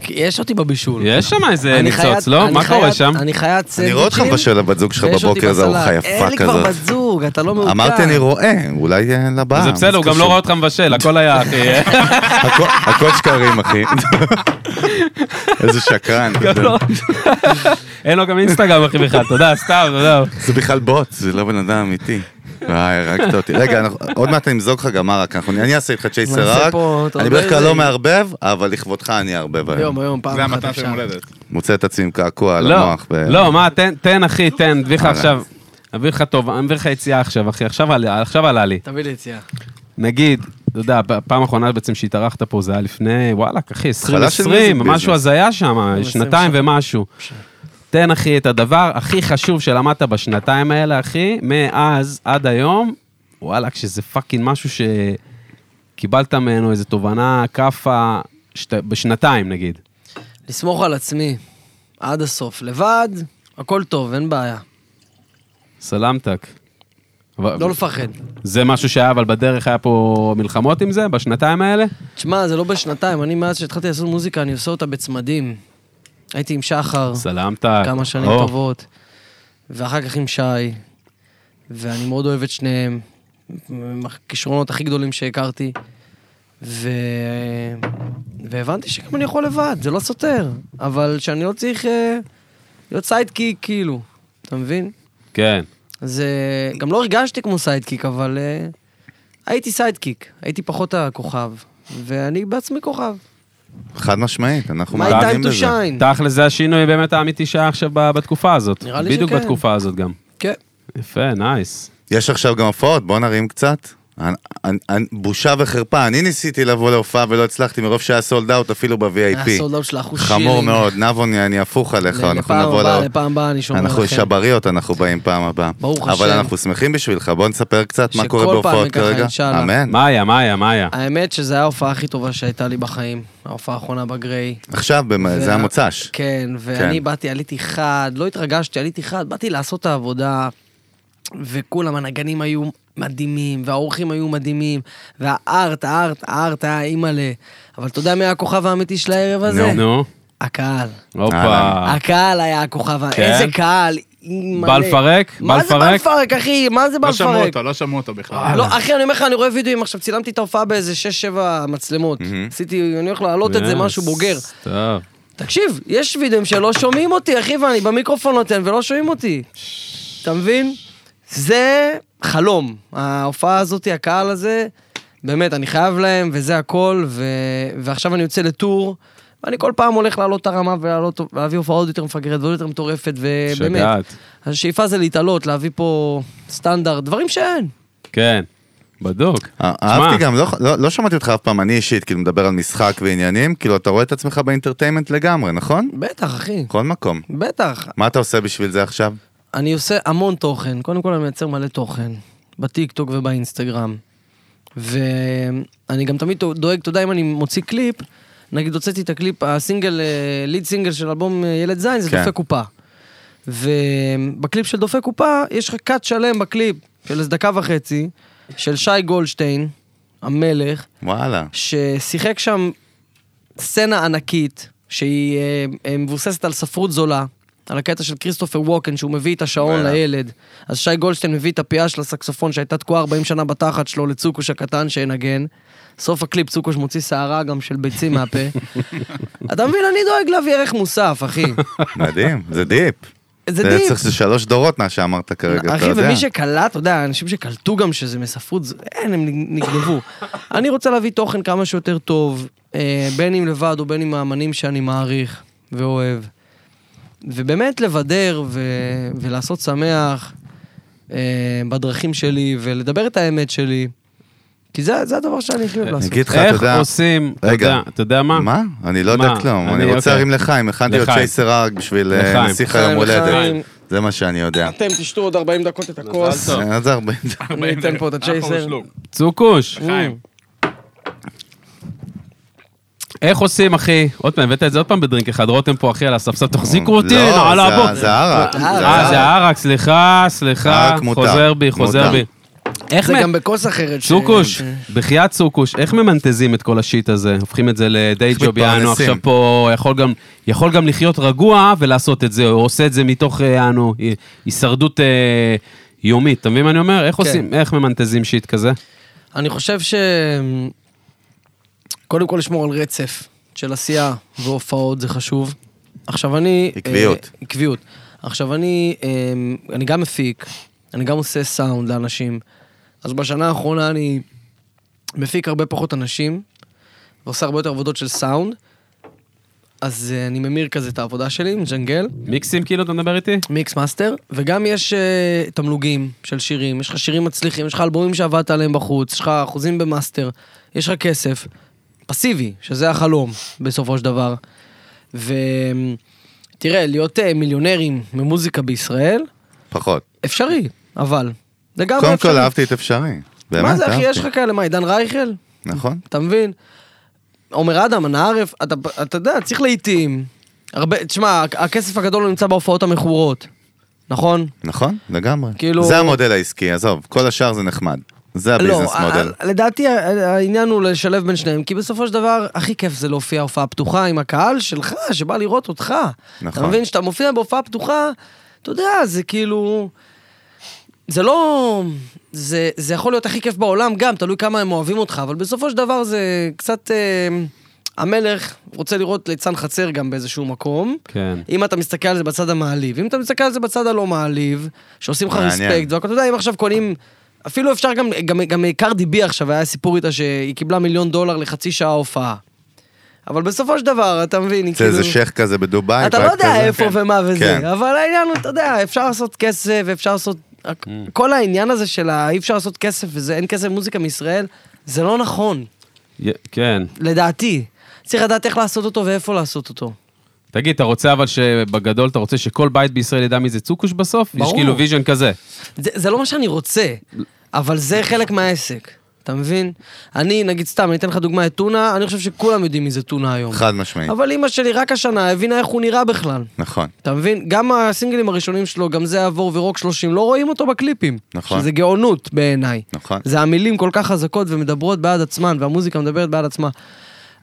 כי יש אותי בבישול.
יש שם איזה
אני
ניצוץ,
חיית-
לא?
אני
מה
חיית-
קורה שם?
אני חיית סנדוויצ'ים.
אני רואה אותך מבשל לבת זוג שלך
ויש אותי
בבוקר, זו
בסלט.
ארוחה
אין לי
יפה
כבר בת
כזאת.
זוג, אתה לא מעודכן.
אמרתי, אני רואה, אולי אה, לבאה.
זה
מה
בסדר, הוא גם לא
קשור?
רואה אותך מבשל, הכל היה, אחי.
הכל- הכל שקרים, אחי. איזה שקרן.
גם לא- אין לו גם אינסטגרם, אחי, בכלל, תודה, סתם, תודה.
זה בכלל בוט, זה לא בן אדם אמיתי. וואי, הרגת אותי. רגע, אנחנו- עוד מעט אני אמזוג לך גם מרק, אנחנו- אני אעשה איתך צ'ייסר
נעשה
רק.
פה, אתה
אני
אומר
בדרך כלל
זה-
לא מערבב, אבל לכבודך אני אערבב היום.
היום, היום, פעם
זה
אחת
המתן של
אפשר.
יום הולדת.
מוצא את עצמי עם קעקוע על
לא,
המוח. ב-
לא, מה, תן- תן, אחי, תן, אביא לך עכשיו, אביא לך טוב, אני אביא לך יציאה עכשיו, אחי, עכשיו עלה- עכשיו עלה לי.
תביא לי יציאה.
נגיד, אתה יודע, הפ- פעם האחרונה בעצם שהתארחת פה זה היה לפני, וואלכ, אחי,
התחלה של מיוזיק
2020, משהו
ביזנס.
הזיה שם,
עשרים
שנתיים
שנה.
ומשהו. תן, אחי, את הדבר הכי חשוב שלמדת בשנתיים האלה, אחי, מאז עד היום, וואלכ, שזה פאקינג משהו שקיבלת ממנו איזו תובנה, כאפה, שת- בשנתיים נגיד.
לסמוך על עצמי. עד הסוף. לבד, הכל טוב, אין בעיה.
סלמתק. אבל-
לא לפחד.
זה משהו שהיה, אבל בדרך היה פה מלחמות עם זה, בשנתיים האלה?
תשמע, זה לא בשנתיים, אני מאז שהתחלתי לעשות מוזיקה, אני עושה אותה בצמדים. הייתי עם שחר
סלמתק.
אה,
כמה שנים
או,
טובות, ואחר כך עם שי, ואני מאוד אוהב את שניהם, הם הכישרונות הכי גדולים שהכרתי, ו... והבנתי שגם אני יכול לבד, זה לא סותר, אבל שאני לא צריך אה, להיות סיידקיק כאילו, אתה מבין?
כן.
זה... גם לא הרגשתי כמו סיידקיק, אבל אה, הייתי סיידקיק, הייתי פחות הכוכב, ואני בעצמי כוכב.
חד משמעית, אנחנו
My time
מאמינים
to
בזה.
shine.
תכל'ס זה השינוי באמת האמיתי שהיה עכשיו ב- בתקופה הזאת.
נראה לי
בדיוק
שכן.
בתקופה הזאת גם.
כן.
יפה, נייס.
יש עכשיו גם הופעות, בוא נרים קצת. אני- אני- אני- בושה וחרפה, אני ניסיתי לבוא להופעה ולא הצלחתי מרוב שהיה סולד אאוט אפילו ב-VIP.
הסולדאוט שלך הוא שירים.
חמור מאוד, נבו, אני אני הפוך עליך,
ל-
אנחנו
לפעם
נבוא
הבאה,
ל...
לפעם הבאה אני שומר
אנחנו
לכם.
שבריות, אנחנו באים פעם הבאה.
ברוך
אבל
השם.
אנחנו שמחים בשבילך, בוא נספר קצת מה
שכל
קורה
פעם
בהופעות
וככה,
כרגע.
אינשאללה.
אמן.
מאיה, מאיה, מאיה.
האמת שזו הייתה ההופעה הכי טובה שהייתה לי בחיים, ההופעה האחרונה בגריי.
עכשיו, במ-
וה-
זה המוצ"ש.
כן, ואני
כן.
באתי, עליתי חד, לא התרגשתי, עליתי חד, באתי לעשות את העבודה, וכולם, הנגנים היו מדהימים, והאורחים היו מדהימים, והארט, הארט, הארט היה אימא'לה. אבל אתה יודע מי היה הכוכב האמיתי של הערב הזה?
נו,
הקהל.
אה.
הופה.
אהלן.
הקהל היה הכוכב, ה-
כן?
איזה קהל, אימא'לה.
בא לפרק? בא
מה זה בא
לפרק?
לפרק, אחי? מה זה בא
לא שמעו
לפרק?
אותו, לא שמעו אותו בכלל.
לא, אחי, אני אומר לך, אני רואה וידאוים עכשיו, צילמתי את ההופעה באיזה 6-7 מצלמות. עשיתי, אני הולך להעלות את זה, משהו בוגר.
טוב.
תקשיב, יש וידאוים שלא שומעים אותי, אחי, ואני במיקרופון נותן ולא שומעים אותי. אתה מבין? זה חלום. ההופעה הזאת, הקהל הזה, באמת, אני חייב להם, וזה הכל, ו... ועכשיו אני יוצא לטור, ואני כל פעם הולך להעלות את הרמה ולהעלות- ולהביא הופעה עוד יותר מפגרת ועוד יותר מטורפת, ובאמת.
שגעת.
השאיפה זה להתעלות, להביא פה סטנדרט, דברים שאין.
כן. בדוק.
אה, אהבתי גם, לא- לא לא שמעתי אותך אף פעם, אני אישית, כאילו מדבר על משחק ועניינים, כאילו אתה רואה את עצמך באינטרטיימנט לגמרי, נכון?
בטח, אחי.
בכל מקום.
בטח.
מה אתה עושה בשביל זה עכשיו?
אני עושה המון תוכן, קודם כל אני מייצר מלא תוכן, בטיקטוק ובאינסטגרם. ואני גם תמיד דואג, אתה יודע, אם אני מוציא קליפ, נגיד הוצאתי את הקליפ, הסינגל, אה, ליד סינגל של אלבום אה, ילד זין, זה
כן.
דופק קופה. ובקליפ של דופק קופה, יש לך קאט שלם בקליפ של איזה דקה וחצי, של שי גולדשטיין, המלך,
וואלה.
ששיחק שם סצנה ענקית, שהיא אה, אה, מבוססת על ספרות זולה, על הקטע של כריסטופר ווקן, שהוא מביא את השעון
וואלה.
לילד. אז שי גולדשטיין מביא את הפיאה של הסקסופון שהייתה תקועה 40 שנה בתחת שלו לצוקוש הקטן שינגן. סוף הקליפ צוקוש מוציא שערה גם של ביצים מהפה. אתה מבין, אני דואג להביא ערך מוסף, אחי.
מדהים, זה דיפ.
זה דיפ.
צריך זה שלוש דורות מה שאמרת כרגע, אתה יודע.
אחי, ומי שקלט, אתה יודע, אנשים שקלטו גם שזה מספרות, זה- אין, הם נגנבו. אני רוצה להביא תוכן כמה שיותר טוב, אה, בין אם לבד או בין עם האמנים שאני מעריך ואוהב. ובאמת לבדר ו- ולעשות שמח אה, בדרכים שלי, ולדבר את האמת שלי, כי זה זה הדבר שאני הכי אוהב
אני
לעשות.
אגיד לך, אתה
איך
יודע...
עושים, אתה
רגע.
יודע- אתה יודע מה?
מה? אני לא
מה?
יודע כלום,
אני-
אני רוצה
אוקיי.
להרים לחיים, הכנתי עוד
לחיים.
צ'ייסר ארק בשביל אה,
לחיים.
נסיך
לחיים,
היום
לחיים.
הולדת. זה מה שאני יודע.
אתם תשתו עוד 40 דקות את הכוס,
טוב.
אה, זה הרבה.
אני אתן פה את
אה,
הצ'ייסר.
צוקוש.
חיים.
איך עושים, אחי? עוד פעם, הבאת את זה עוד פעם בדרינק אחד. רותם פה, אחי, על הספסל. תחזיקו אותי,
לא,
נעלה
זה-
הבוק.
זה ערק.
אה, זה ערק, סליחה, סליחה.
ערק מותר.
חוזר בי, חוזר
מותר.
בי. איך
זה
מ...
גם בכוס אחרת. ש-
צוקוש,
ש-
בחייאת צוקוש, איך ממנטזים את כל השיט הזה? הופכים את זה לדי
איך
ג'וב, יענו
מתפרנסים?
עכשיו פה, יכול גם, יכול גם לחיות רגוע ולעשות את זה, או עושה את זה מתוך, אה, יענו, ה- הישרדות אה, יומית, אתה מבין מה אני אומר? איך
כן.
עושים, איך ממנטזים שיט כזה?
אני חושב ש... קודם כל לשמור על רצף של עשייה והופעות, זה חשוב. עכשיו אני...
עקביות.
אה, עקביות. עכשיו אני, אה, אני גם מפיק, אני גם עושה סאונד לאנשים. אז בשנה האחרונה אני מפיק הרבה פחות אנשים, ועושה הרבה יותר עבודות של סאונד. אז אה, אני ממיר כזה את העבודה שלי, מג'נגל.
מיקסים כאילו, אתה מדבר איתי?
מיקס מאסטר, וגם יש uh, תמלוגים של שירים, יש לך שירים מצליחים, יש לך אלבומים שעבדת עליהם בחוץ, יש לך אחוזים במאסטר, יש לך כסף, פסיבי, שזה החלום בסופו של דבר. ותראה, להיות אה, מיליונרים ממוזיקה בישראל,
פחות.
אפשרי, לא, אבל. לגמרי
קודם
אפשרי.
כל אהבתי את אפשרי.
מה
באמת,
זה אחי, יש לך
אהבתי.
כאלה, מה, עידן רייכל?
נכון.
אתה מבין? עומר אדם, אנה ערף, אתה, אתה יודע, צריך לעיתים. הרבה, תשמע, הכסף הגדול לא נמצא בהופעות המכורות, נכון?
נכון, לגמרי.
כאילו- לא,
זה המודל העסקי, עזוב, כל השאר זה נחמד. זה הביזנס
ה-
מודל.
ה- לדעתי ה- העניין הוא לשלב בין שניהם, כי בסופו של דבר, הכי כיף זה להופיע הופעה פתוחה עם הקהל שלך, שבא לראות אותך.
נכון.
אתה מבין, כשאתה מופיע בהופעה פתוחה, אתה יודע, זה כאילו... זה לא... זה, זה יכול להיות הכי כיף בעולם גם, תלוי כמה הם אוהבים אותך, אבל בסופו של דבר זה קצת... אה, המלך רוצה לראות ליצן חצר גם באיזשהו מקום.
כן.
אם אתה מסתכל על זה בצד המעליב, אם אתה מסתכל על זה בצד הלא מעליב, שעושים לך
מעניין.
רספקט, והכל, אתה יודע, אם עכשיו קונים, אפילו אפשר גם, גם, גם קרדי בי עכשיו, היה סיפור איתה שהיא קיבלה מיליון דולר לחצי שעה הופעה. אבל בסופו של דבר, אתה מבין, היא
זה
כאילו...
איזה שייח כזה בדובאי.
אתה לא
בית
יודע
כזה. כן.
איפה ומה וזה,
כן.
אבל העניין הוא, אתה יודע, אפשר לעשות כסף, אפשר לעשות רק
Mm.
כל העניין הזה של ה- אי אפשר לעשות כסף וזה אין כסף במוזיקה מישראל, זה לא נכון,
י- כן.
לדעתי. צריך לדעת איך לעשות אותו ואיפה לעשות אותו.
תגיד, אתה רוצה אבל שבגדול, אתה רוצה שכל בית בישראל ידע מי זה צוקוש בסוף? יש
ברור.
כאילו ויז'ן כזה.
זה, זה לא מה שאני רוצה, אבל זה חלק מהעסק. אתה מבין? אני, נגיד סתם, אני אתן לך דוגמא את טונה, אני חושב שכולם יודעים מי זה טונה היום.
חד משמעית.
אבל אימא שלי רק השנה הבינה איך הוא נראה בכלל.
נכון.
אתה מבין? גם הסינגלים הראשונים שלו, גם זה עבור ורוק 30, לא רואים אותו בקליפים.
נכון.
שזה גאונות בעיניי.
נכון.
זה המילים כל כך חזקות ומדברות בעד עצמן, והמוזיקה מדברת בעד עצמה.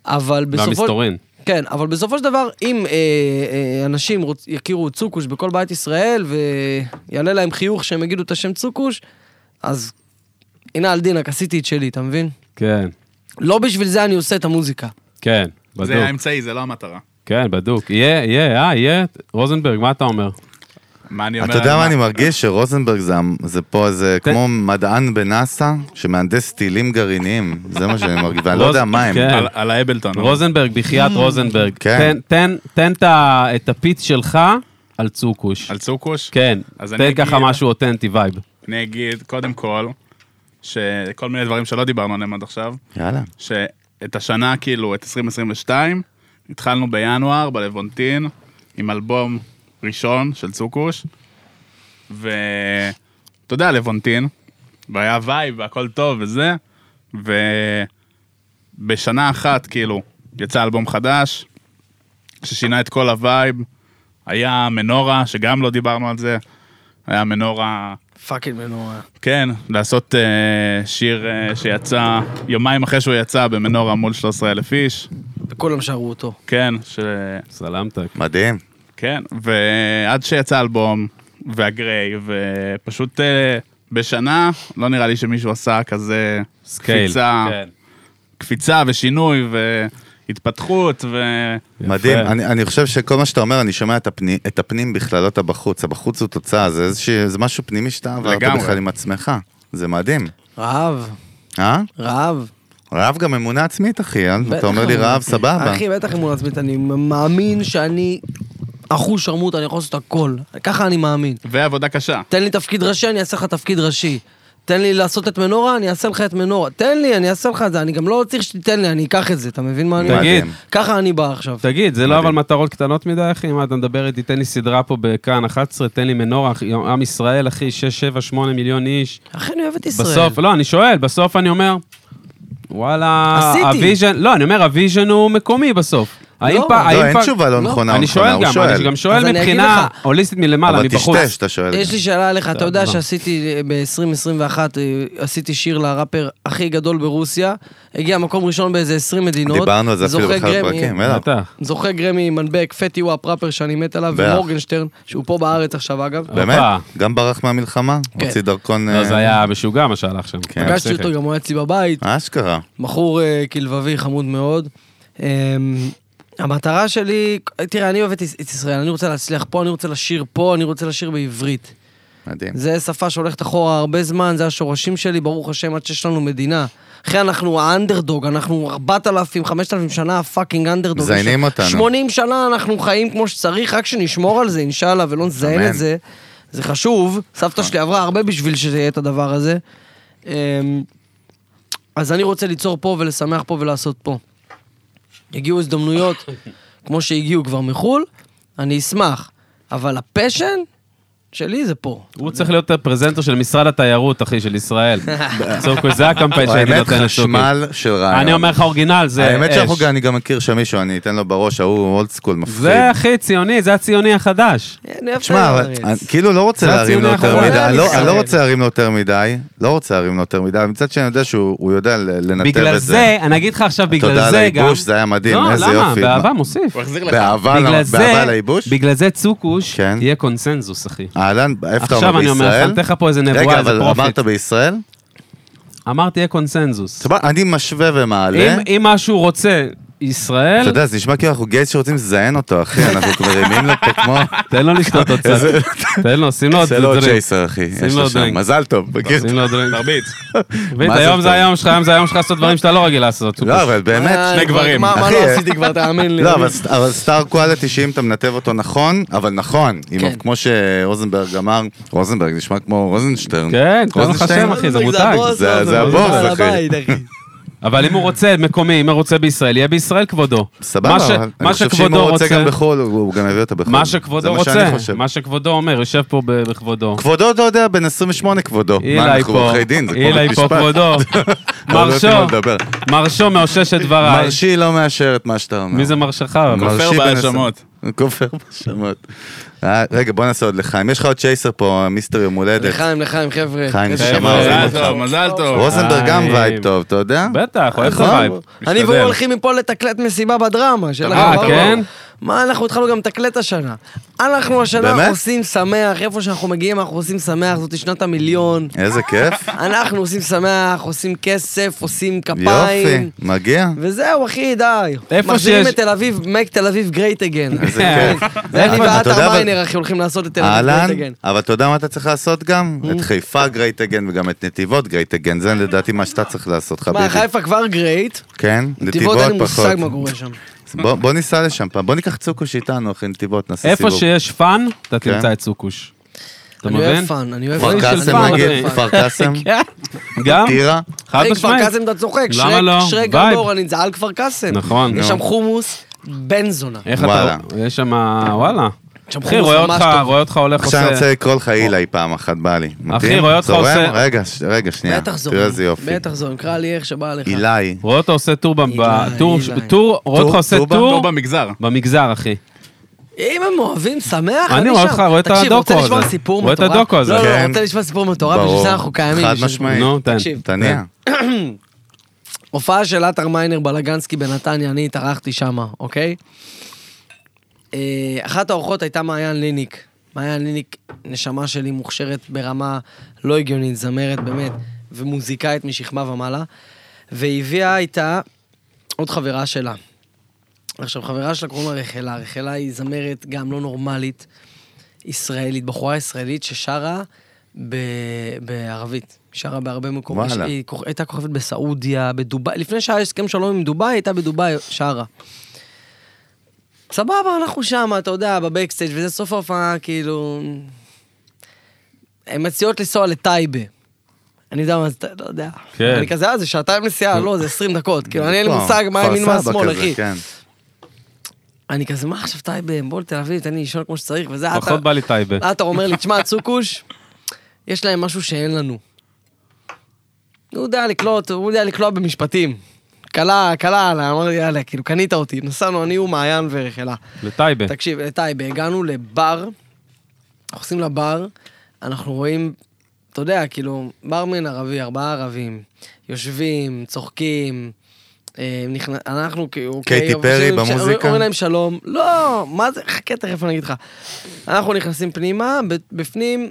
אבל בסופו...
והמסתורין.
כן, אבל בסופו של דבר, אם אה, אה, אנשים רוצ... יכירו את צוקוש בכל בית ישראל, ויעלה להם חיוך שהם יגידו את השם צוקוש, אז הנה על דינק, עשיתי את שלי, אתה מבין?
כן,
לא בשביל זה אני עושה את המוזיקה.
כן, בדוק.
זה האמצעי, זה לא המטרה.
כן, בדוק. יהיה, יהיה, אה, יהיה. רוזנברג, מה אתה אומר?
מה אני אומר?
אתה יודע מה
על-
אני מרגיש? שרוזנברג זה, המ- זה פה איזה
כן.
כמו מדען בנאסא שמהנדס טילים גרעיניים, זה מה שאני מרגיש, ואני לא
רוז-
יודע מה הם.
כן.
על- על האבלטון.
רוזנברג, בחייאת
Mm.
רוזנברג.
נכון. כן.
תן- תן- תן את ה- את הפיץ שלך על צוקוש.
על צוקוש?
כן,
אז
תן
אני
ככה
אגיד-
משהו אותנטי וייב.
אני אגיד, קודם כל, שכל מיני דברים שלא דיברנו עליהם עד עכשיו,
יאללה.
שאת השנה, כאילו, את 2022, התחלנו בינואר בלוונטין, עם אלבום ראשון של צוקוש, ואתה יודע, לבונטין, והיה וייב והכל טוב וזה, ובשנה אחת, כאילו, יצא אלבום חדש, ששינה את כל הווייב, היה מנורה, שגם לא דיברנו על זה, היה מנורה...
פאקינג מנורא.
כן, לעשות אה, שיר אה, שיצא יומיים אחרי שהוא יצא במנורה מול 13,000 איש,
וכולם שרו אותו.
כן, ש...
סלמתק.
מדהים.
כן, ועד שיצא האלבום, והגריי, ופשוט אה, בשנה, לא נראה לי שמישהו עשה כזה
סקייל.
קפיצה,
כן.
קפיצה ושינוי והתפתחות, ו...
מדהים, אני, אני חושב שכל מה שאתה אומר, אני שומע את, הפני, את הפנים בכלל, לא את הבחוץ. הבחוץ הוא תוצאה, זה, איזושהי, זה משהו פנימי שאתה עברת
לגמרי.
בכלל עם עצמך. זה מדהים.
רעב,
אה?
רעב.
רעב גם אמונה עצמית, אחי. אה?
בטח
אתה אומר לי
אמונה
רעב,
עצמית.
סבבה.
אחי, בטח אמונה עצמית, אני מאמין שאני אחוש שרמוט, אני יכול לעשות הכל. ככה אני מאמין.
ועבודה קשה.
תן לי תפקיד ראשי, אני אעשה לך תפקיד ראשי. תן לי לעשות את מנורה, אני אעשה לך את מנורה. תן לי, אני אעשה לך את זה, אני גם לא צריך שתיתן לי, אני אקח את זה, אתה מבין מה אני אומר?
תגיד,
מדהים.
ככה אני בא עכשיו.
תגיד, זה לא אבל מטרות קטנות מדי, אחי? מה, אתה מדבר איתי, תן לי סדרה פה בכאן 11, תן לי מנורה, אחי, עם ישראל, אחי, 6, 7, 8 מיליון איש.
אחי, אני אוהב את ישראל.
בסוף, לא, אני שואל, בסוף אני אומר, וואלה,
עשיתי.
הוויז'ן, לא, אני אומר, הוויז'ן הוא מקומי בסוף. האם
לא,
פ-
לא,
לא,
האם
אין
פ-
תשובה לא
לא.
נכונה,
אני
הוא
שואל
נכונה,
גם,
הוא
אני גם
שואל.
אז
שואל
אני אגיד
מבחינה
לך.
הוליסטית מלמעלה,
אבל
מבחוץ.
טשטש, אתה שואל.
יש לי שאלה אליך, אתה יודע
מה?
שעשיתי אה, ב-2021, אה, עשיתי שיר לראפר הכי גדול ברוסיה, הגיע מקום ראשון באיזה 20 מדינות.
דיברנו על זה אפילו
זוכה
באחד
גרמי.
הפרקים, בטח.
בטח.
זוכה גרמי מנבק, פטי וואפ, ראפר שאני מת עליו,
בטח.
ומורגנשטרן, שהוא פה בארץ עכשיו אגב.
באמת?
הופה.
גם ברח מהמלחמה?
כן.
הוציא דרכון...
לא,
אה,
זה היה משוגע מה שהלך שם.
כן.
פגשתי אותו, גם הוא היה אצלי בבית,
אשכרה.
בחור אה, כלבבי חמוד מאוד. אמ, המטרה שלי, תראה, אני אוהב את יש- את ישראל, אני רוצה להצליח פה, אני רוצה לשיר פה, אני רוצה לשיר בעברית.
מדהים.
זה שפה שהולכת אחורה הרבה זמן, זה השורשים שלי, ברוך השם, עד שיש לנו מדינה. אחי, אנחנו האנדרדוג, אנחנו 4,000, 5,000 שנה הפאקינג אנדרדוג.
מזיינים
יש-
אותנו.
80 שנה אנחנו חיים כמו שצריך, רק שנשמור על זה, אינשאללה, ולא
אמן. נכון.
נזיין את זה. זה חשוב, סבתא שלי עברה הרבה בשביל שזה יהיה את הדבר הזה. אמ, אז אני רוצה ליצור פה ולשמח פה ולעשות פה. הגיעו הזדמנויות, כמו שהגיעו כבר מחו"ל, אני אשמח. אבל הפשן שלי זה פה.
הוא צריך להיות הפרזנטור של משרד התיירות, אחי, של ישראל. צוקוש, זה הקמפיין לא שאני
האמת,
נותן לצוקוש.
חשמל של רעיון.
אני אומר לך, אורגינל, זה אש.
האמת שאנחנו גם, אני גם מכיר שם מישהו, אני אתן לו בראש, ההוא אולד סקול מפחיד.
זה הכי ציוני, זה הציוני החדש.
אין, איפה
תשמע, אבל
הארץ?
אני כאילו לא רוצה
זה
להרים לו יותר
הציוני האחרון.
מדי, אני לא-
אני
אני לא
מתכוון.
רוצה להרים לו יותר מדי, לא רוצה להרים לו יותר מדי, אבל מצד שני אני יודע שהוא הוא יודע ל- לנתב את זה.
בגלל זה, אני אגיד לך עכשיו, בגלל
תודה על
זה גם...
הייבוש, זה היה מדהים, איזה
לא, למה?
יופי.
באהבה
מה-
מוסיף.
הוא החזיר לך.
באהבה
בגלל
ל-
זה-
באהבה לייבוש?
בגלל זה צוקוש
כן.
יהיה קונסנזוס, אחי.
אהלן, איפה אתה אומר
עכשיו
בישראל?
אני אומר לך, אני אתן לך פה איזה נבואה,
רגע,
איזה
אבל
פרופיט.
אמרת בישראל?
אמרתי, יהיה קונסנזוס.
סבבה, אני משווה ומעלה.
אם אם משהו רוצה
אתה
ישראל,
יודע, זה נשמע כאילו אנחנו גייז שרוצים לזיין אותו, אחי, אנחנו מרימים לו פה כמו...
תן לו לשתות עוד קצת. תן לו, שים לו עוד
זה לא
דרינק.
ג'ייסר, אחי.
שים
יש
לו
לו שם,
דרינק.
מזל טוב. מכיר?
שים לו דרינק.
תרביץ.
ואת,
מה זה
היום זה
טוב?
היום שלך, היום זה היום שלך לעשות דברים שאתה לא רגיל לעשות.
לא, אבל באמת,
אה,
שני
כבר-
גברים.
מה מה
אחי,
לא עשיתי כבר, תאמין לי.
לא, אבל ס- אבל סטאר קואליטי, שאם אתה מנתב אותו נכון, אבל נכון, אם-
כן.
כמו שרוזנברג אמר, רוזנברג נשמע כמו רוזנשטרן.
כן, קוראים לך
רוזנשטיין?
שם, אחי, זה מותג.
הבוס
זה-
שלנו,
זה הבוס,
בעל
אחי.
הבית, אחי.
אבל אם הוא רוצה מקומי, אם הוא רוצה בישראל, יהיה בישראל כבודו.
סבבה,
מה ש-
אבל
מה
אני חושב שאם
שכבודו
הוא רוצה
רוצה-
גם בחו"ל, הוא הוא גם יביא אותה בחו"ל.
מה
זה
שכבודו
מה שאני
רוצה,
חושב.
מה שכבודו אומר, יושב פה ב- בכבודו.
כבודו, לא יודע, בן 28 כבודו. מה,
אילי
אנחנו
פה,
עורכי דין, זה כמו
אילי
בית
פה
משפט.
כבודו.
לא יודעים על מה
מרשו,
לדבר.
מרשו מאושש את דבריי.
מרשי לא מאשר את מה שאתה אומר.
מי זה מרשך? אבל?
מרשי
כופר
בן
בהאשמות.
עשרה. כופר בהאשמות. אה, רגע, בוא נעשה עוד לחיים. יש לך עוד צ'ייסר פה, מיסטר יום הולדת.
לחיים, לחיים, חבר'ה.
חיים,
איזה
נשמה,
שמע.
שמע, אוהבים
מזל
אותך.
אה, לא טוב, מזל טוב.
רוזנברג גם וייב טוב, אתה יודע?
בטח, אוהב את
נכון.
הווייב.
אני והוא
משתדל.
הולכים מפה לתקלט מסיבה בדרמה של
אה,
החברות.
כן?
מה, אנחנו התחלנו גם לתקלט השנה. אנחנו השנה
באמת?
אנחנו עושים שמח, איפה שאנחנו מגיעים אנחנו עושים שמח, זאת שנת המיליון.
איזה כיף.
אנחנו עושים שמח, עושים כסף, עושים
יופי,
כפיים.
מגיע.
וזהו, אחי, די.
איפה
מחזירים
שיש-
את תל אביב, make תל אביב great again.
איזה
כן.
כיף.
זה אני
אבל
ואת
אתה יודע, אבל-
הרמיינר, אחי, הולכים לעשות את תל אביב great
אהלן,
again.
אבל אתה יודע מה אתה צריך לעשות גם? את חיפה גרייט אגן וגם את נתיבות גרייט אגן, זה לדעתי מה שאתה צריך לעשות,
מה,
חביבי.
חיפה כבר great?
כן,
נתיבות אין לי
נתיבות פחות.
מושג מה קורה שם.
אז בוא- בוא ניסע לשם פעם, בוא ניקח צוקוש איתנו אחרי נתיבות, נעשה
איפה
סיבוב.
שיש פאן, אתה
כן.
תמצא את סוכוש. אתה
אני אוהב
מבין?
פאן, אני אוהב
כפר
פאן.
של
קאסם
פעם,
נגיד,
אחי.
כפר קאסם,
כן. גם,
טירה,
חד
אחי, כפר
משמעית.
קאסם אתה צוחק,
אה, למה
שרק-
לא?
שרק
וייב.
גדור, אני על כפר קאסם.
נכון.
יש
נו.
שם חומוס בן זונה.
איך
וואלה.
אתה, יש שם, וואלה.
שם
אחי,
חומוס
רואה
ממש
אותך,
טוב.
רואה אותך הולך
עכשיו אני
עושה...
רוצה לקרוא לך אילי פעם אחת, בא לי. מתאים?
אחי, רואה אותך
זורם?
עושה-
רגע, ש- רגע, שנייה,
בטח זורם.
תראה איזה יופי.
בטח זורם, אוקיי. קרא לי איך שבא לך.
אילי,
רואה אותו עושה טור, במ-
אילי,
בטור,
אילי.
טור, רואה אותך עושה
טור
טוב
טור
אה, במגזר.
במגזר,
אה,
אחי.
אם הם אוהבים, שמח,
אני רואה אותך, רואה את
תקשיב, רוצה
הדוקו
לשמוע
הזה.
סיפור
רואה
מטורף?
את הדוקו הזה.
לא,
כן.
לא, רוצה לשמוע סיפור מטורף,
ברור.
בשביל זה אנחנו קיימים.
חד
בשביל זה-
משמעית.
נו, תן.
תקשיב.
תניע.
הופעה של עטר מיינר בלגנסקי בנתניה, אני התארחתי שמה, אוקיי? אה, אחת האורחות הייתה מעיין ליניק. מעיין ליניק, נשמה שלי מוכשרת ברמה לא הגיונית, זמרת באמת, ומוזיקאית משכמה ומעלה, והיא הביאה איתה עוד חברה שלה. עכשיו, חברה שלה קוראים לה רחלה. רחלה היא זמרת גם לא נורמלית, ישראלית, בחורה ישראלית ששרה ב... בערבית. שרה בהרבה מקומות.
וואלה.
היא כוכ- הייתה כוכבת בסעודיה, בדובאי. לפני שהיה הסכם שלום עם דובאי, היא הייתה בדובאי, שרה. סבבה, אנחנו שם, אתה יודע, בבקסטייג' וזה סוף ההופעה, כאילו... הן מציעות לנסוע לטייבה. אני יודע מה זה, טייבה, לא יודע.
כן.
אני כזה, אה, זה שעתיים נסיעה, לא, זה 20 דקות. כאילו, אני אין לי
פה,
מושג מה
לא, כפר
ימין מה
סבא
שמאל,
כזה,
אחי.
כן.
אני כזה, מה עכשיו טייבה, בוא לתל אביב, תן לי לישון כמו שצריך, וזה,
פחות בא לי טייבה.
עטר אומר לי, תשמע, צוקוש, יש להם משהו שאין לנו. הוא יודע לקלוט, הוא יודע לקלוע במשפטים. קלה, קלה, עליי, אמר לי, יאללה, כאילו, קנית אותי. נסענו, אני ומעיין ורחלה.
לטייבה.
כן.
תקשיב, לטייבה, הגענו לבר, אנחנו נכנסים לבר, אנחנו רואים, אתה יודע, כאילו, ברמן ערבי, ארבעה ערבים, יושבים, צוחקים, אה, נכנס, אנחנו כאילו...
קייטי
אוקיי,
פרי
אומרים-
במוזיקה?
אומרים להם שלום, לא, מה זה, חכה, תכף אני אגיד לך. אנחנו נכנסים פנימה, ב- בפנים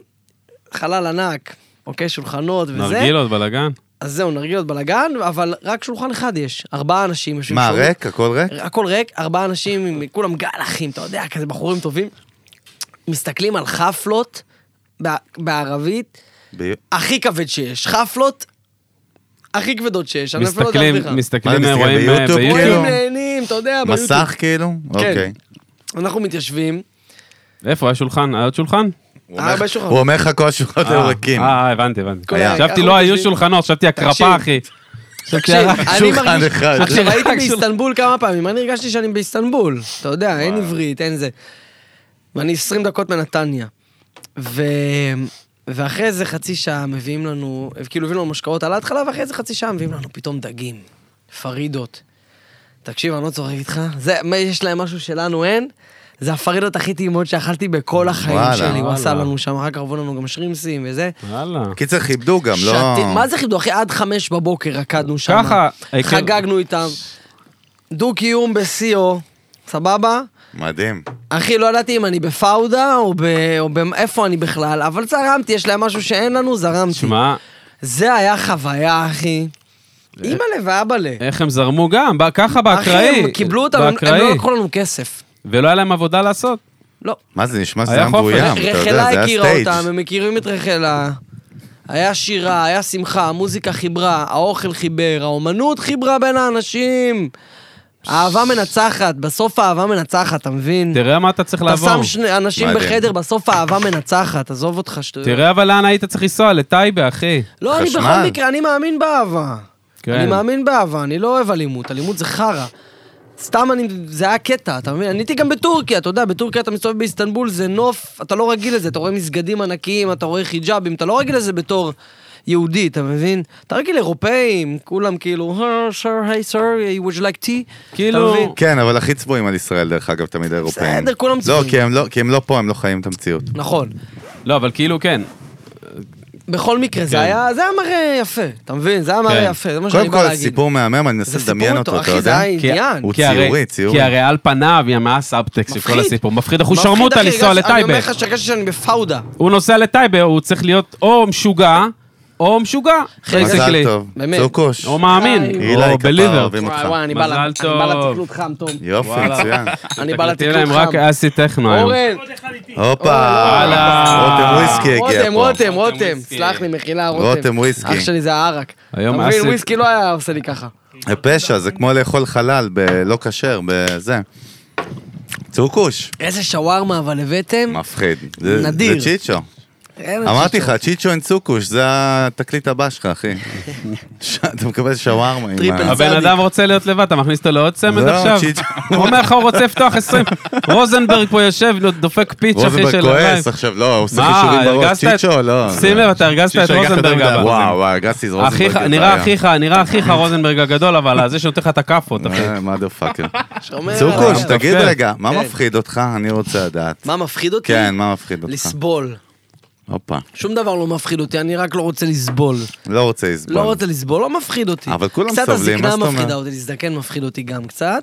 חלל ענק, אוקיי, שולחנות וזה.
נרגילות, בלאגן.
אז זהו, נרגילות בלאגן, אבל רק שולחן אחד יש, ארבעה אנשים יושבים
מה,
שם.
ריק? הכל ריק?
הכל ריק, ארבעה אנשים, עם- כולם גל אחים, אתה יודע, כזה בחורים טובים. מסתכלים על חפלות בע- בערבית,
ב-
הכי כבד שיש. חפלות הכי כבדות שיש. אני אפילו לא יודע
מסתכלים,
להסביר לך.
מסתכלים,
מה, מסתכלים
רואים אה,
ביוטיוב?
ביוטיוב.
כאילו.
רואים נהנים, אתה יודע, ביוטיוב.
מסך כאילו?
כן.
אוקיי.
אה, אנחנו מתיישבים,
איפה, היה שולחן? היה עוד שולחן?
הוא אומר לך-
ארבע שולחנות.
הוא אומר לך כל השולחנות
אה,
היו ריקים.
אה, הבנתי, הבנתי.
כל
היה.
ה-
חשבתי
אנחנו
לא היו
מתיישבים.
שולחנות, חשבתי
תקשיב.
הקרפה, אחי.
תקשיב, אני
שולחן
מרגיש...
אחד.
עכשיו, הייתי
רק שולחן.
באיסטנבול כמה פעמים, אני הרגשתי שאני באיסטנבול. אתה יודע, אין עברית, אין זה. ואני 20 דקות מנתניה. ו... ואחרי איזה חצי שעה מביאים לנו, כאילו מביאים לנו משקאות על ההתחלה, ואחרי איזה חצי שעה מביאים לנו פתאום דגים, פרידות. תקשיב, אני לא צוחק איתך, זה, מה, יש להם משהו שלנו אין, זה הפרידות הכי טעימות שאכלתי בכל החיים
וואלה.
שלי. הוא עשה
וואלה.
לנו שם, אחר כך עברו לנו גם שרימסים וזה.
וואלה.
קיצר, כיבדו גם, לא...
שתי- מה זה כיבדו? אחי, עד חמש בבוקר רקדנו שם.
ככה, אה, כן.
חגגנו איתם. דו-קיום בשיאו, סבבה?
מדהים.
אחי, לא ידעתי אם אני בפאודה או ב... או ב- איפה אני בכלל, אבל זרמתי, יש להם משהו שאין לנו, זרמתי.
שמע,
זה היה חוויה, אחי. אימא'לה ואבאלה.
איך הם זרמו גם, בא- ככה באקראי.
אחי, הם קיבלו אותם, הם הם
באקראי.
לא לקחו לנו כסף.
ולא היה להם עבודה לעשות.
לא.
מה זה נשמע
היה
שזה היה
חופש.
מבוים, אה, אתה יודע,
רחלה
זה
הכירה
היה
אותם,
סטייג'.
הם מכירים את רחלה. היה שירה, היה שמחה, המוזיקה חיברה, האוכל חיבר, האומנות חיברה בין האנשים. אהבה מנצחת, בסוף האהבה מנצחת, אתה מבין?
תראה מה אתה צריך
אתה
לעבור.
שם שני אנשים
מדהים.
בחדר, בסוף האהבה מנצחת, עזוב אותך שטויות.
תראה אבל לאן היית צריך לנסוע, לטייבה, אחי.
לא, אני
חשמל.
בכל מקרה, אני מאמין באהבה.
כן.
אני מאמין באהבה, אני לא אוהב אלימות, אלימות זה חרא. סתם אני, זה היה קטע, אתה מבין? אני הייתי גם בטורקיה, אתה יודע, בטורקיה אתה מסתובב באיסטנבול, זה נוף, אתה לא רגיל לזה, אתה רואה מסגדים ענקיים, אתה רואה חיג'אבים, אתה לא רגיל לזה בתור יהודי, אתה מבין? אתה רגיל אירופאים, כולם כאילו, סר, היי סר, would you like tea?
כאילו-
אתה מבין?
כן, אבל הכי צבועים על ישראל, דרך אגב, תמיד האירופאים.
בסדר, כולם
לא,
צבועים.
כי הם לא, כי הם לא פה, הם לא חיים את המציאות.
נכון.
לא, אבל כאילו כן.
בכל מקרה, זה
כן.
היה, זה היה מראה יפה, אתה מבין? זה היה
כן.
מראה יפה, זה מה שאני
קודם
בא
כל,
להגיד.
סיפור מהמם, אני מנסה
זה סיפור
לדמיין אותו,
מטורף,
אתה
אחי, זה
יודע?
היה-
כי-
עניין.
הוא
כי הרי-
ציורי, ציורי.
כי הרי על פניו, היא מה הסאבטקסט של כל
מפחיד.
הסיפור? מפחיד, אנחנו
מפחיד,
שרמוטה
אחי,
לנסוע
הרגשתי- אני
לטייבה.
אומר לך שהרגשתי שאני בפאודה.
הוא נוסע לטייבה, הוא צריך להיות או משוגע, או משוגע.
מזל
basically.
טוב.
באמת.
צוקוש.
או מאמין,
אילי
או
כפרה,
בליבר.
אוהבים אותך.
וואי וואי, אני בא
מזל
לה- אני בא
טוב.
לתקלות חם, תום.
יופי, מצוין.
אני בא
תקליטי
לתקלות
להם רק
חם.
אסי טכנו היום.
אורן,
הופה.
וואלה.
רותם אה, וויסקי הגיע
רותם,
פה.
רותם, רותם.
וויסקי.
סלח לי, מחילה, רותם.
רותם וויסקי.
אח שלי זה הערק. אתה
היום
מבין,
אסי-
וויסקי לא היה עושה לי ככה.
זה פשע, זה כמו לאכול חלל בלא כשר, בזה. צוקוש.
איזה שווארמה אבל הבאתם.
מפחיד. זה-
נדיר.
זה צ'יצ'ו.
אין
אמרתי לך,
צ'יצ'ו.
צ'יצ'ו אין צוקוש, זה התקליט הבא שלך, אחי. ש- אתה מקבל שווארמה. עם
טריפל
ה-
צ-
הבן
צדיק.
אדם רוצה להיות לבד, אתה מכניס אותו לעוד צמד
לא,
עכשיו?
צ'יצ'ו.
הוא אומר לך, הוא רוצה לפתוח 20. רוזנברג פה יושב, דופק פיץ' אחי של
רוזנברג
הלייב.
כועס עכשיו, לא, הוא עושה
מה,
חישובים בראש.
הרגזת את-
צ'יצ'ו, לא.
שים לב, אתה הרגזת את
צ'יצ'ו ייקח את
רוזנברג
הדודה.
אבל.
וואו, וואו, הרגזתי את רוזנברג.
אחיך,
זה
נראה
היה.
אחיך, נראה אחיך רוזנברג הגדול, אבל זה שנותן לך את הכאפות, אחי.
מה דה פאקר.
שומר
צוקוש,
עליו.
תגיד
יפה.
רגע, מה
כן.
מפחיד אותך? אני רוצה לדעת.
מה מפחיד אותי?
כן, מה מפחיד אותך?
לסבול.
הופה.
שום דבר לא מפחיד אותי, אני רק לא רוצה לסבול.
לא רוצה לסבול.
לא רוצה לסבול, לא מפחיד אותי.
אבל כולם
קצת
סובלים, מה
הזקנה
זאת אומרת?
מפחידה אותי, להזדקן מפחיד אותי גם קצת,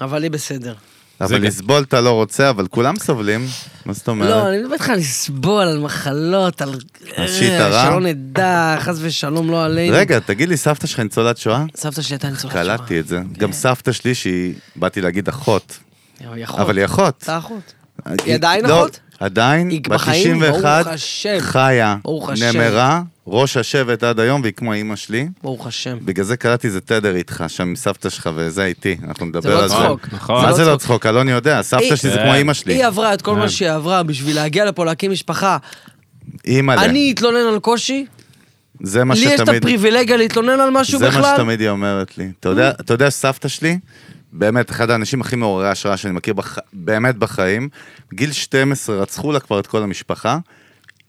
אבל היא בסדר.
אבל לסבול אתה לא רוצה, אבל כולם סובלים. מה זאת
לא,
אומרת?
אני מדבר איתך על לסבול, על מחלות, על...
השיט
אה,
הרע?
שלא נדע, חס ושלום, לא עלינו.
רגע, תגיד לי, סבתא שלך ניצולת שואה?
סבתא שלי הייתה ניצולת שואה.
קלטתי את זה. גם סבתא שלי, שהיא, באתי להגיד אחות,
היא אחות.
אבל היא אחות.
אתה אחות.
היא-
עדיין
לא,
אחות?
עדיין,
היא
בת
בחיים?
91,
ברוך השם.
חיה,
ברוך השם.
נמרה, ראש השבט עד היום, והיא כמו אימא שלי.
ברוך השם.
בגלל זה קלטתי איזה תדר איתך, שם עם סבתא שלך וזה איתי, אנחנו
זה
נדבר
לא
על זה.
צחוק.
נכון.
מה זה לא צחוק? אלוני יודע, סבתא
היא-
שלי זה
אה.
כמו אימא שלי.
היא עברה את כל מה שהיא עברה בשביל להגיע לפה, להקים משפחה.
אימא'לה.
אני אתלונן על קושי,
זה מה
לי יש את
שתמיד...
הפריבילגיה להתלונן על משהו
זה מה
בכלל.
שתמיד היא אומרת לי. אתה יודע, אתה יודע שסבתא שלי, באמת, אחד האנשים הכי מעוררי השראה שאני מכיר בח... באמת בחיים, גיל 12 רצחו לה כבר את כל המשפחה.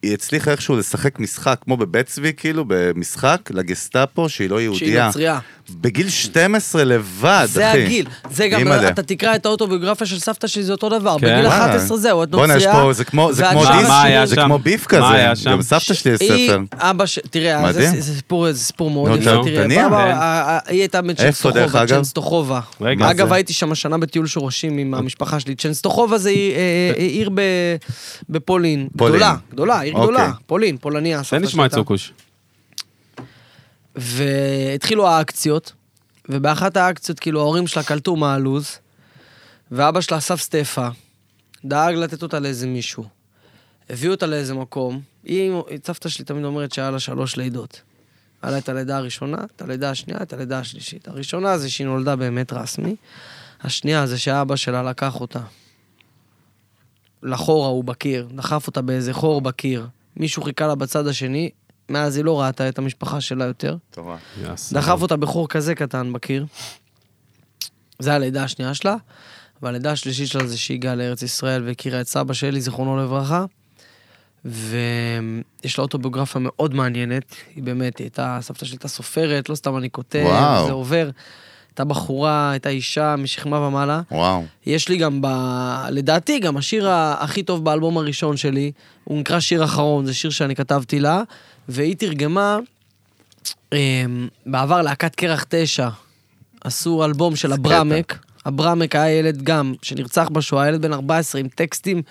היא הצליחה איכשהו לשחק משחק, כמו בבית צבי, כאילו, במשחק, לגסטאפו, שהיא לא יהודייה.
נוצרייה.
בגיל 12 לבד, אחי.
זה הגיל. זה גם,
אימא'לה.
אתה תקרא את האוטוביוגרפיה של סבתא שלי, זה אותו דבר.
כן.
בגיל
וואלה.
11 זהו, את
בואנה, יש
נוצרייה.
פה, זה כמו, זה כמו
והגיל
דיס,
מה היה
זה
שם?
כמו ביף
מה
כזה.
היה שם?
גם סבתא שלי יש
היא-
ספר.
אבא ש... תראה, זה,
מדהים.
זה, זה סיפור, זה סיפור מאוד
נו,
יפה.
נו,
תראה,
תניע.
בבא,
כן.
ה- ה- היא הייתה
דרך
בצ'נסטוחובה,
אגב?
צ'נסטוחובה.
רגע,
אגב,
זה-
הייתי שם השנה בטיול שורשים עם המשפחה שלי. צ'נסטוחובה זה עיר- אה, אה, עיר ב- בפולין.
פולין.
גדולה, גדולה, עיר
אוקיי.
גדולה. פולין, פולניה, הסבתא
תן נשמע את
שהייתה.
צוקוש.
והתחילו האקציות, ובאחת האקציות, כאילו, ההורים שלה קלטו מה הלו"ז, ואבא שלה אסף סטפה, דאג לתת אותה לאיזה מישהו. הביאו אותה לאיזה מקום, היא, סבתא שלי תמיד אומרת שהיה לה שלוש לידות. היה לה את הלידה הראשונה, את הלידה השנייה, את הלידה השלישית. הראשונה זה שהיא נולדה באמת רסמי, השנייה זה שאבא שלה לקח אותה לחור ההוא בקיר, דחף אותה באיזה חור בקיר. מישהו חיכה לה בצד השני, מאז היא לא ראתה את המשפחה שלה יותר. דחף אותה בחור כזה קטן בקיר. זה הלידה השנייה שלה, והלידה השלישית שלה זה שהיא הגיעה לארץ ישראל והכירה את סבא שלי, זיכרונו לברכה. ויש לה אוטוביוגרפיה מאוד מעניינת, היא באמת, היא הייתה, סבתא שלי הייתה סופרת, לא סתם אני כותב,
וואו.
זה עובר. הייתה בחורה, הייתה אישה משכמה ומעלה.
וואו.
יש לי גם, ב... לדעתי, גם השיר ה- הכי טוב באלבום הראשון שלי, הוא נקרא שיר אחרון, זה שיר שאני כתבתי לה, והיא תרגמה אמ, בעבר להקת קרח תשע, עשו אלבום של אברמק, אברמק היה ילד גם, שנרצח בשואה, ילד בן 14 עם טקסטים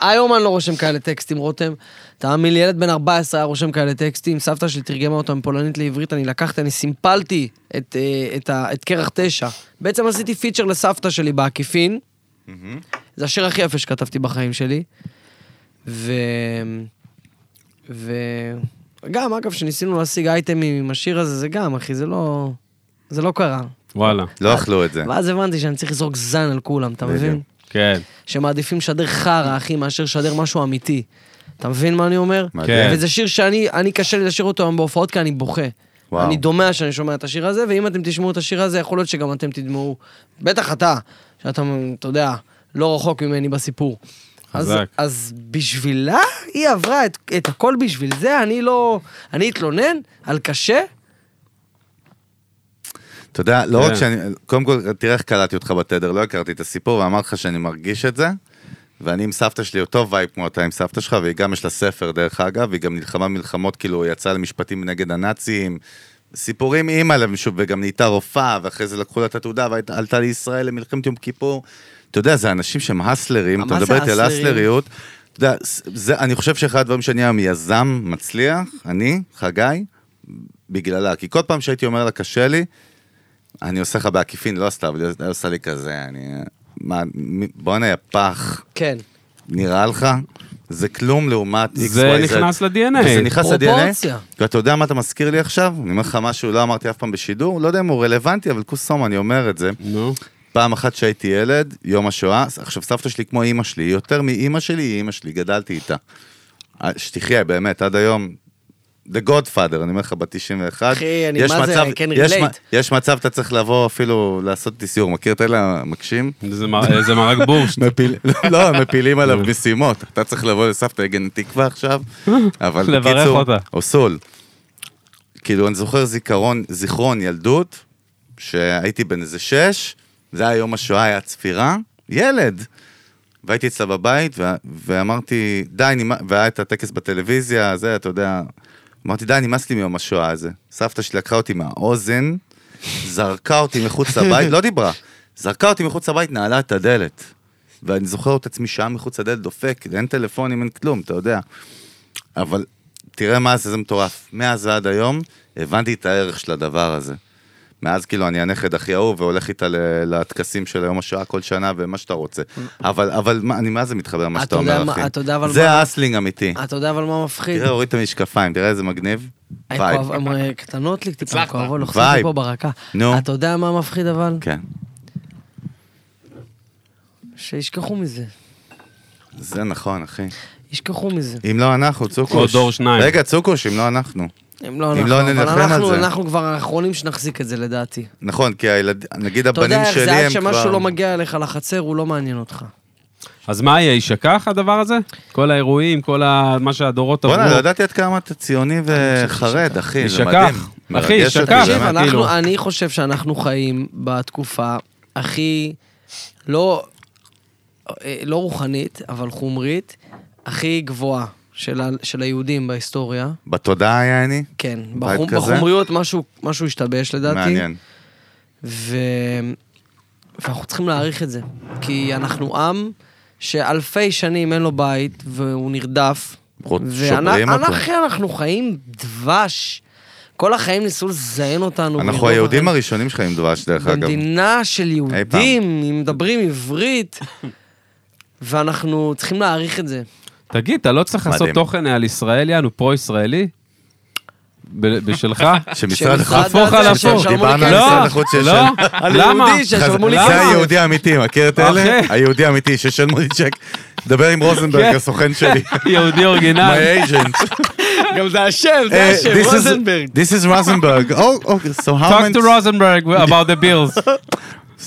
היום אני לא רושם כאלה טקסטים, רותם. תאמין לי, ילד בן 14 היה רושם כאלה טקסטים, סבתא שלי תרגמה אותם מפולנית לעברית, אני לקחתי, אני סימפלתי את, אה, את, ה- את קרח תשע. בעצם עשיתי פיצ'ר לסבתא שלי בעקיפין. זה השיר הכי יפה שכתבתי בחיים שלי. ו... ו... גם, אגב, כשניסינו להשיג אייטמים עם השיר הזה, זה גם, אחי, זה לא... זה לא קרה.
וואלה.
לא אכלו את זה.
ואז הבנתי שאני צריך לזרוק זן על כולם, אתה
בדיוק.
מבין?
כן.
שמעדיפים לשדר חרא, אחי, מאשר לשדר משהו אמיתי. אתה מבין מה אני אומר?
מדהים.
וזה שיר שאני, אני קשה לי לשיר אותו היום בהופעות, כי אני בוכה.
וואו.
וואו. אני דומע שאני שומע את השיר הזה, ואם אתם תשמעו את השיר הזה, יכול להיות שגם אתם תדמעו. בטח אתה, שאתה, אתה יודע, לא רחוק ממני בסיפור. אז,
חזק.
אז בשבילה היא עברה את, את הכל בשביל זה, אני לא... אני אתלונן על קשה?
אתה יודע, לא רק
כן.
שאני, קודם כל, תראה איך קלטתי אותך בתדר, לא הכרתי את הסיפור, ואמרתי לך שאני מרגיש את זה, ואני עם סבתא שלי אותו וייב כמו אתה עם סבתא שלך, והיא גם, יש לה ספר דרך אגב, והיא גם נלחמה מלחמות, כאילו, היא יצאה למשפטים נגד הנאצים, סיפורים אימא להם, שוב, וגם נהייתה רופאה, ואחרי זה לקחו לה את התעודה, ועלתה לישראל למלחמת יום כיפור. אתה יודע, זה אנשים שהם הסלרים,
מה
אתה
זה
מדבר איתי על
הסלרים?
הסלריות. אתה יודע, זה, אני חושב שאחד הדברים שאני היום יזם מצליח, אני, חגי, בגללה. כי כל פעם שהייתי אומר לה, קשה לי, אני עושה לך בעקיפין, לא עשתה, אבל היא עושה לי כזה, אני... מה, מי- בואנה, יא פח,
כן.
נראה לך? זה כלום לעומת XYZ.
זה נכנס ל-DNA.
זה נכנס ל-DNA.
פרופורציה.
ואתה יודע מה אתה מזכיר לי עכשיו? אני אומר לך משהו, לא אמרתי אף פעם בשידור, לא יודע אם הוא רלוונטי, אבל כוס סום, אני אומר את זה.
נו.
פעם אחת שהייתי ילד, יום השואה, עכשיו סבתא שלי כמו אימא שלי, היא יותר מאימא שלי היא אימא שלי, גדלתי איתה. אה, שתחיה, באמת, עד היום, The Godfather, אני אומר לך, בת 91.
אחי, אני
יש
מה זה,
מצב-
כן,
יש
relate.
מ- יש מצב, אתה צריך לבוא אפילו לעשות איתי סיור, מכיר את אלה המקשים?
זה מר- זה מרק בורשט.
לא, הם מפילים עליו משימות. אתה צריך לבוא לסבתא יגן תקווה עכשיו, אבל
לברך
בקיצור,
אותה.
אוסול. כאילו, אני זוכר זיכרון, זיכרון ילדות, שהייתי בן איזה שש, זה היה יום השואה, היה צפירה, ילד. והייתי אצלה בבית, ו- ואמרתי, די, נמא... והיה את הטקס בטלוויזיה, זה, אתה יודע. אמרתי, די, נמאס לי מיום השואה הזה. סבתא שלי לקחה אותי מהאוזן, זרקה אותי מחוץ לבית, לא דיברה, זרקה אותי מחוץ לבית, נעלה את הדלת. ואני זוכר את עצמי שעה מחוץ לדלת דופק, אין טלפונים, אין כלום, אתה יודע. אבל תראה מה זה, זה מטורף. מאז ועד היום, הבנתי את הערך של הדבר הזה. מאז כאילו אני הנכד הכי אהוב והולך איתה ל- לטקסים של היום השעה כל שנה ומה שאתה רוצה. אבל, אבל מה, אני מה זה מתחבר למה
אתה
שאתה
יודע
אומר,
מה-
אחי.
אתה יודע אבל
זה
מה- אה,
האסלינג אמיתי.
אתה יודע אבל מה מפחיד?
תראה, הוריד את המשקפיים, תראה איזה מגניב.
הן
וייב.
כואב- הן, אה, קטנות לי, טיפה
הצלחת.
כואבות, לוחצות לי
וייב.
פה ברקה.
נו.
אתה יודע מה מפחיד אבל?
כן.
שישכחו מזה.
זה נכון, אחי.
ישכחו מזה.
אם לא אנחנו, צוקוש.
עוד דור שניים.
רגע, צוקוש, אם לא אנחנו.
אם לא
אם
אנחנו,
לא
אבל
נילחם על
אנחנו-
זה.
אנחנו כבר האחרונים שנחזיק את זה לדעתי.
נכון, כי הילדים, נגיד
אתה יודע
הבנים
איך
שלי
זה,
הם
עד
כבר...
שמשהו לא מגיע אליך לחצר, הוא לא מעניין אותך.
אז מה יהיה, יישכח הדבר הזה? כל האירועים, כל ה- מה שהדורות עברו.
בואנה, לא ידעתי עד כמה אתה ציוני וחרד, אחי, זה
יישכח.
מדהים.
אחי,
מרגש אותי,
יישכח.
תקשיב,
באמת.
באמת, כאילו.
אנחנו- אני חושב שאנחנו חיים בתקופה הכי לא אה, לא רוחנית, אבל חומרית, הכי גבוהה של ה- של היהודים בהיסטוריה.
בתודעה היה אני?
כן,
בית
בחומ-
כזה?
בחומריות משהו משהו השתבש לדעתי.
מעניין.
ו... ואנחנו צריכים להעריך את זה. כי אנחנו עם שאלפי שנים אין לו בית, והוא נרדף.
רוצ- שוברים אותו.
ואחי, אנחנו חיים דבש. כל החיים ניסו לזיין אותנו.
אנחנו
ולראות
היהודים
אותנו
הראשונים שחיים דבש, דרך אגב.
לא במדינה של
פעם.
יהודים, אם מדברים עברית, ואנחנו צריכים להעריך את זה.
תגיד, אתה לא צריך לעשות
מדהים.
תוכן על ישראל, יענו פרו-ישראלי? ב- בשלך?
שמשרד
שמשרד-
החוץ...
הפוך על
זה
הפוך.
שישלמו לי
דיברנו על
כסף.
משרד החוץ שיש...
לא, למה?
היהודי שישלמו לי
למה?
זה היהודי האמיתי, מכיר את אלה?
אחי.
היהודי האמיתי, ששלמו לי צ'ק. דבר עם רוזנברג,
כן.
הסוכן שלי.
יהודי
My
אורגינל.
agent.
גם זה השם,
אה, this is- This is Rosenberg. Oh, okay, so how
Talk
many...
to Rosenberg about the bills.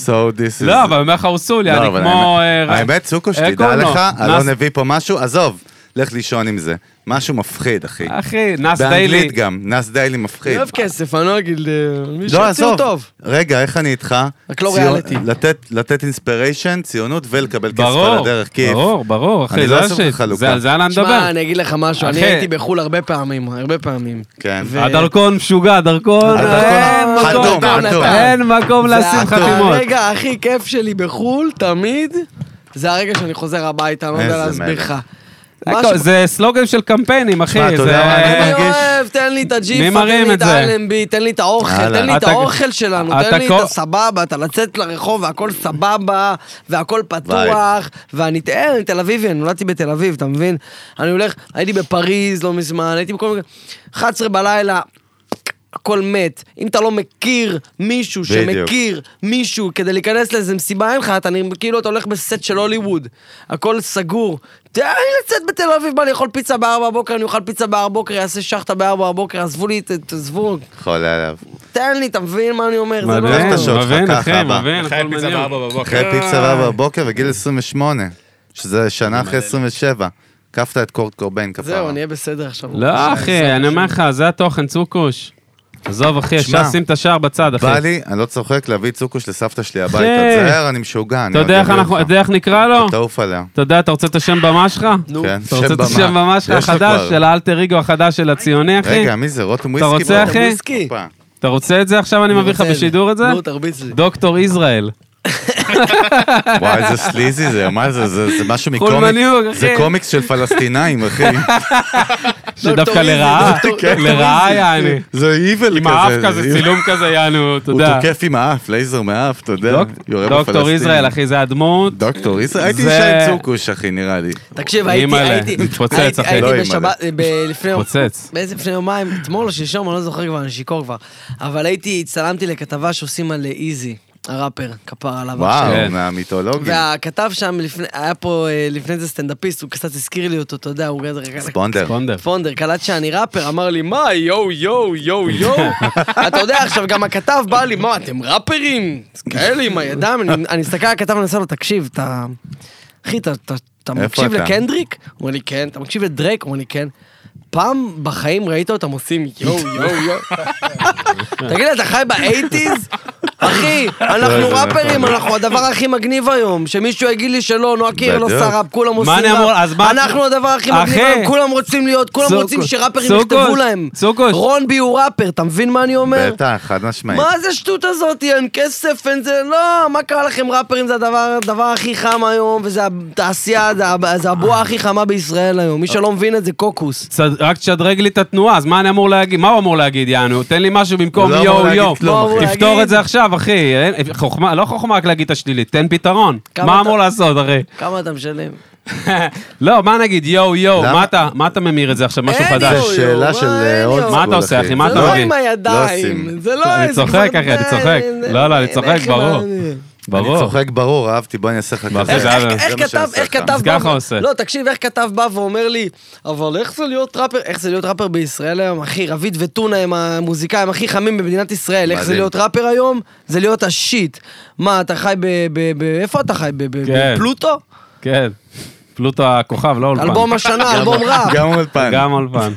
So this is...
לא, אבל אני אומר לך, הוא סולי,
לא,
אני
אבל
כמו...
האמת-
אה,
האמת, סוכו,
אקונו,
שתדע לך,
נס-
אלון הביא פה משהו, עזוב, לך לישון עם זה. משהו מפחיד, אחי.
אחי, נס אה, דיילי.
באנגלית גם, נס דיילי
אני
מפחיד.
אוהב כסף, אני לא אגיד, אה, מי
לא,
שיוציא הוא
עזוב.
טוב.
רגע, איך אני איתך?
רק לא
ציון-
ריאליטי.
לתת- לתת אינספיריישן, ציונות ולקבל כסף על
ברור,
הדרך, כיף.
ברור, ברור,
אני לא
אחי, זה
אעשה לך
השיט.
חלוקה.
זה- על זה אני מדבר.
שמע, אני אגיד לך משהו, אני
אחי.
הייתי בחו"ל הרבה פעמים, הרבה פעמים.
כן.
ו-
הדרכון משוגע, הדרכון, אה,
הדרכון
אין
חתום,
מקום,
חתום.
אין מקום לשים
וה-
חתימות.
הרגע הכי כיף שלי בחו"ל, תמיד, זה הרגע שאני חוזר הביתה, אני לא יודע
איזה
להסביר
מלך.
לך.
זה
משהו-
הכל- זה סלוגן של קמפיינים, אחי.
שמע, אתה
זה-
יודע מה, אני-
אני
מרגיש-
אוהב, תן לי את
מי
הג'יפה,
מרים
תן לי
את
את
זה?
האלנבי, תן לי את האוכל,
הלאה.
תן לי את
אתה-
האוכל שלנו,
אתה
תן לי
כל-
את הסבבה, אתה לצאת לרחוב והכל סבבה, והכל פתוח, ואני תאר, אני תל אביבי, אני נולדתי בתל אביב, אתה מבין? אני הולך, הייתי בפריז לא מזמן, הייתי בכל מיני... 11 בלילה, הכל מת. אם אתה לא מכיר מישהו
בדיוק.
שמכיר מישהו כדי להיכנס לאיזה מסיבה, אין לך, אתה נראה כאילו אתה הולך בסט של הוליווד. הכל סגור. תן לי לצאת בתל אביב, בא לי לאכול פיצה בארבע בבוקר, אני אוכל פיצה בארבע בבוקר, אעשה שחטה בארבע בבוקר, עזבו לי, ת- תעזבו,
חולה עליו.
תן לי, אתה מבין מה אני אומר? זה לא...
איך אתה שואל
מבין,
אותך
מבין,
ככה,
אחי,
אבא?
מבין,
אחרי
כן, הכל
פיצה
מבין.
בארבע בבוקר.
אה.
אחרי פיצה רבה בבוקר בגיל 28, שזה שנה אחרי 27. כפת את קורט קורביין כפרה.
זהו, אני אהיה בסדר עכשיו. אה,
לא, אחי, אני אומר לך, זה התוכן, צוקוש. עזוב, אחי, אפשר
תשמע,
לשים את השער בצד, אחי.
בא לי, אני לא צוחק, להביא צוקוש לסבתא שלי הביתה.
אחי.
תזהר, אני משוגע. אני
אתה יודע
עוד
איך
אביא
אנחנו-
אותך.
אתה יודע איך נקרא לו?
תעוף עליה.
אתה יודע, אתה רוצה את השם במה שלך?
נו.
כן,
אתה רוצה את
במה.
השם במה שלך
יש לו
החדש,
כבר.
של האלטר ריגו החדש של הציוני, אחי?
רגע, מי זה? רותם וויסקי?
רוצה,
בוא.
אחי?
וויסקי.
הופה.
אתה רוצה את זה עכשיו? אני מביא לך בשידור את זה?
נו, תרביץ לי.
דוקטור יזרעאל.
וואי, איזה סליזי זה, מה זה? זה זה משהו מקומיקס.
חולמניוק, אחי.
זה קומיקס של פלסטינאים, אחי. לא,
שדווקא
איזי,
לרעה,
דוקטור-
לרעה יעני.
כן. זה איבל כזה.
עם האף כזה,
זה-
צילום כזה יענו, אתה
הוא
יודע.
תוקף עם האף, לייזר מהאף, אתה יודע.
דוק-
יורה
דוקטור
בפלסטינים.
יזרעאל, אחי, זה הדמות.
דוקטור ישראל? הייתי
זה- כן.
אישה עם צוקוש, אחי, נראה לי.
תקשיב, הייתי,
אימא'לה,
הייתי,
מתפוצץ,
הייתי,
אחי.
הייתי
לא,
בשבת, ב- לפני,
מתפוצץ.
באיזה לפני יומיים, אתמול או שלשום, אני לא זוכר כבר, אני שיכור כבר, אבל הייתי, הצטלמתי לכתבה שעושים על איזי, הראפר, כפר עליו. עכשיו.
וואו, מהמיתולוגים.
והכתב שם, לפני, היה פה אה, לפני זה סטנדאפיסט, הוא קצת הזכיר לי אותו, אתה יודע, הוא כזה רגע...
ספונדר.
קונדר.
פונדר, קלט שאני ראפר, אמר לי, מה, יואו, יואו, יואו, יואו. אתה יודע, עכשיו גם הכתב בא לי, מה, אתם ראפרים? כאלה עם הידיים, אני- אני מסתכל על הכתב ואני עושה לו, תקשיב, אתה... אחי, אתה- אתה- אתה
איפה
מקשיב
אתה?"
לקנדריק? הוא אומר לי, כן. אתה מקשיב לדרייק? הוא אומר לי, כן. פעם בחיים ראית אותם עושים יואו, יואו, יואו. תגיד לי, אתה חי באייטיז? אחי, אנחנו
זה נכון.
ראפרים, אנחנו הדבר הכי מגניב היום. שמישהו יגיד לי שלא, נועה קיר לא
בדיוק.
שר"פ, כולם עושים
אני אמור- אז מה-
אנחנו הדבר הכי מגניב
אחי.
היום, כולם רוצים להיות, כולם
צוקוש,
רוצים שראפרים
צוקוש,
יכתבו להם.
צוקוש.
רון בי הוא ראפר, אתה מבין מה אני אומר?
בטח, חד משמעית.
מה זה שטות הזאת? אין כסף, אין זה... לא, מה קרה לכם ראפרים? זה הדבר, הדבר הכי חם היום, וזה התעשייה, זה הב- זה הבועה הכי חמה בישראל היום. מי שלא מבין את זה, קוקוס.
צד- רק תשדרג לי את התנועה, אז מה אני אמור להגיד? מה הוא אמור להגיד, יענו? תן לי משהו במקום
הוא לא אמור
יואו
להגיד
יואו.
כלום,
לא, אחי. הוא
תפתור
להגיד-
את זה עכשיו, אחי. אין- חוכמה, לא חוכמה רק להגיד את השלילית, תן פתרון.
כמה
מה
אתה-
אמור לעשות, אחי?
כמה אתה משלם?
לא, מה נגיד יואו יואו?
למה?
מה אתה- מה אתה ממיר את זה עכשיו, משהו
אין
חדש?
זה
יואו,
שאלה
יואו,
של אה,
מה אין
עוד
יואו?
מה אתה עושה, אחי? מה
זה
אתה
לא
מביא?
עם הידיים,
עושים.
זה לא...
אני
זה
צוחק,
כבר-
אחי, אני צוחק.
זה-
לא, לא, אני צוחק,
איך עם
ברור.
ה-
ברור.
אני צוחק ברור, אהבתי, בוא אני אעשה לך כזה.
זה היה-
איך
מה
כתב,
שאני
איך
עושה לך.
כתב
אז
בא,
ככה עושה.
לא, תקשיב, איך כתב בא ואומר לי, אבל איך זה להיות ראפר, איך זה להיות ראפר בישראל היום, אחי, רביד וטונה הם המוזיקאים הכי חמים במדינת ישראל, איך זה
מדהים.
להיות ראפר היום? זה להיות השיט. מה, אתה חי ב... ב- ב- איפה אתה חי? ב- ב-
כן.
בפלוטו?
כן. פלוטו הכוכב, לא אולפן.
אלבום השנה, אלבום ראפ.
גם אולפן.
גם אולפן.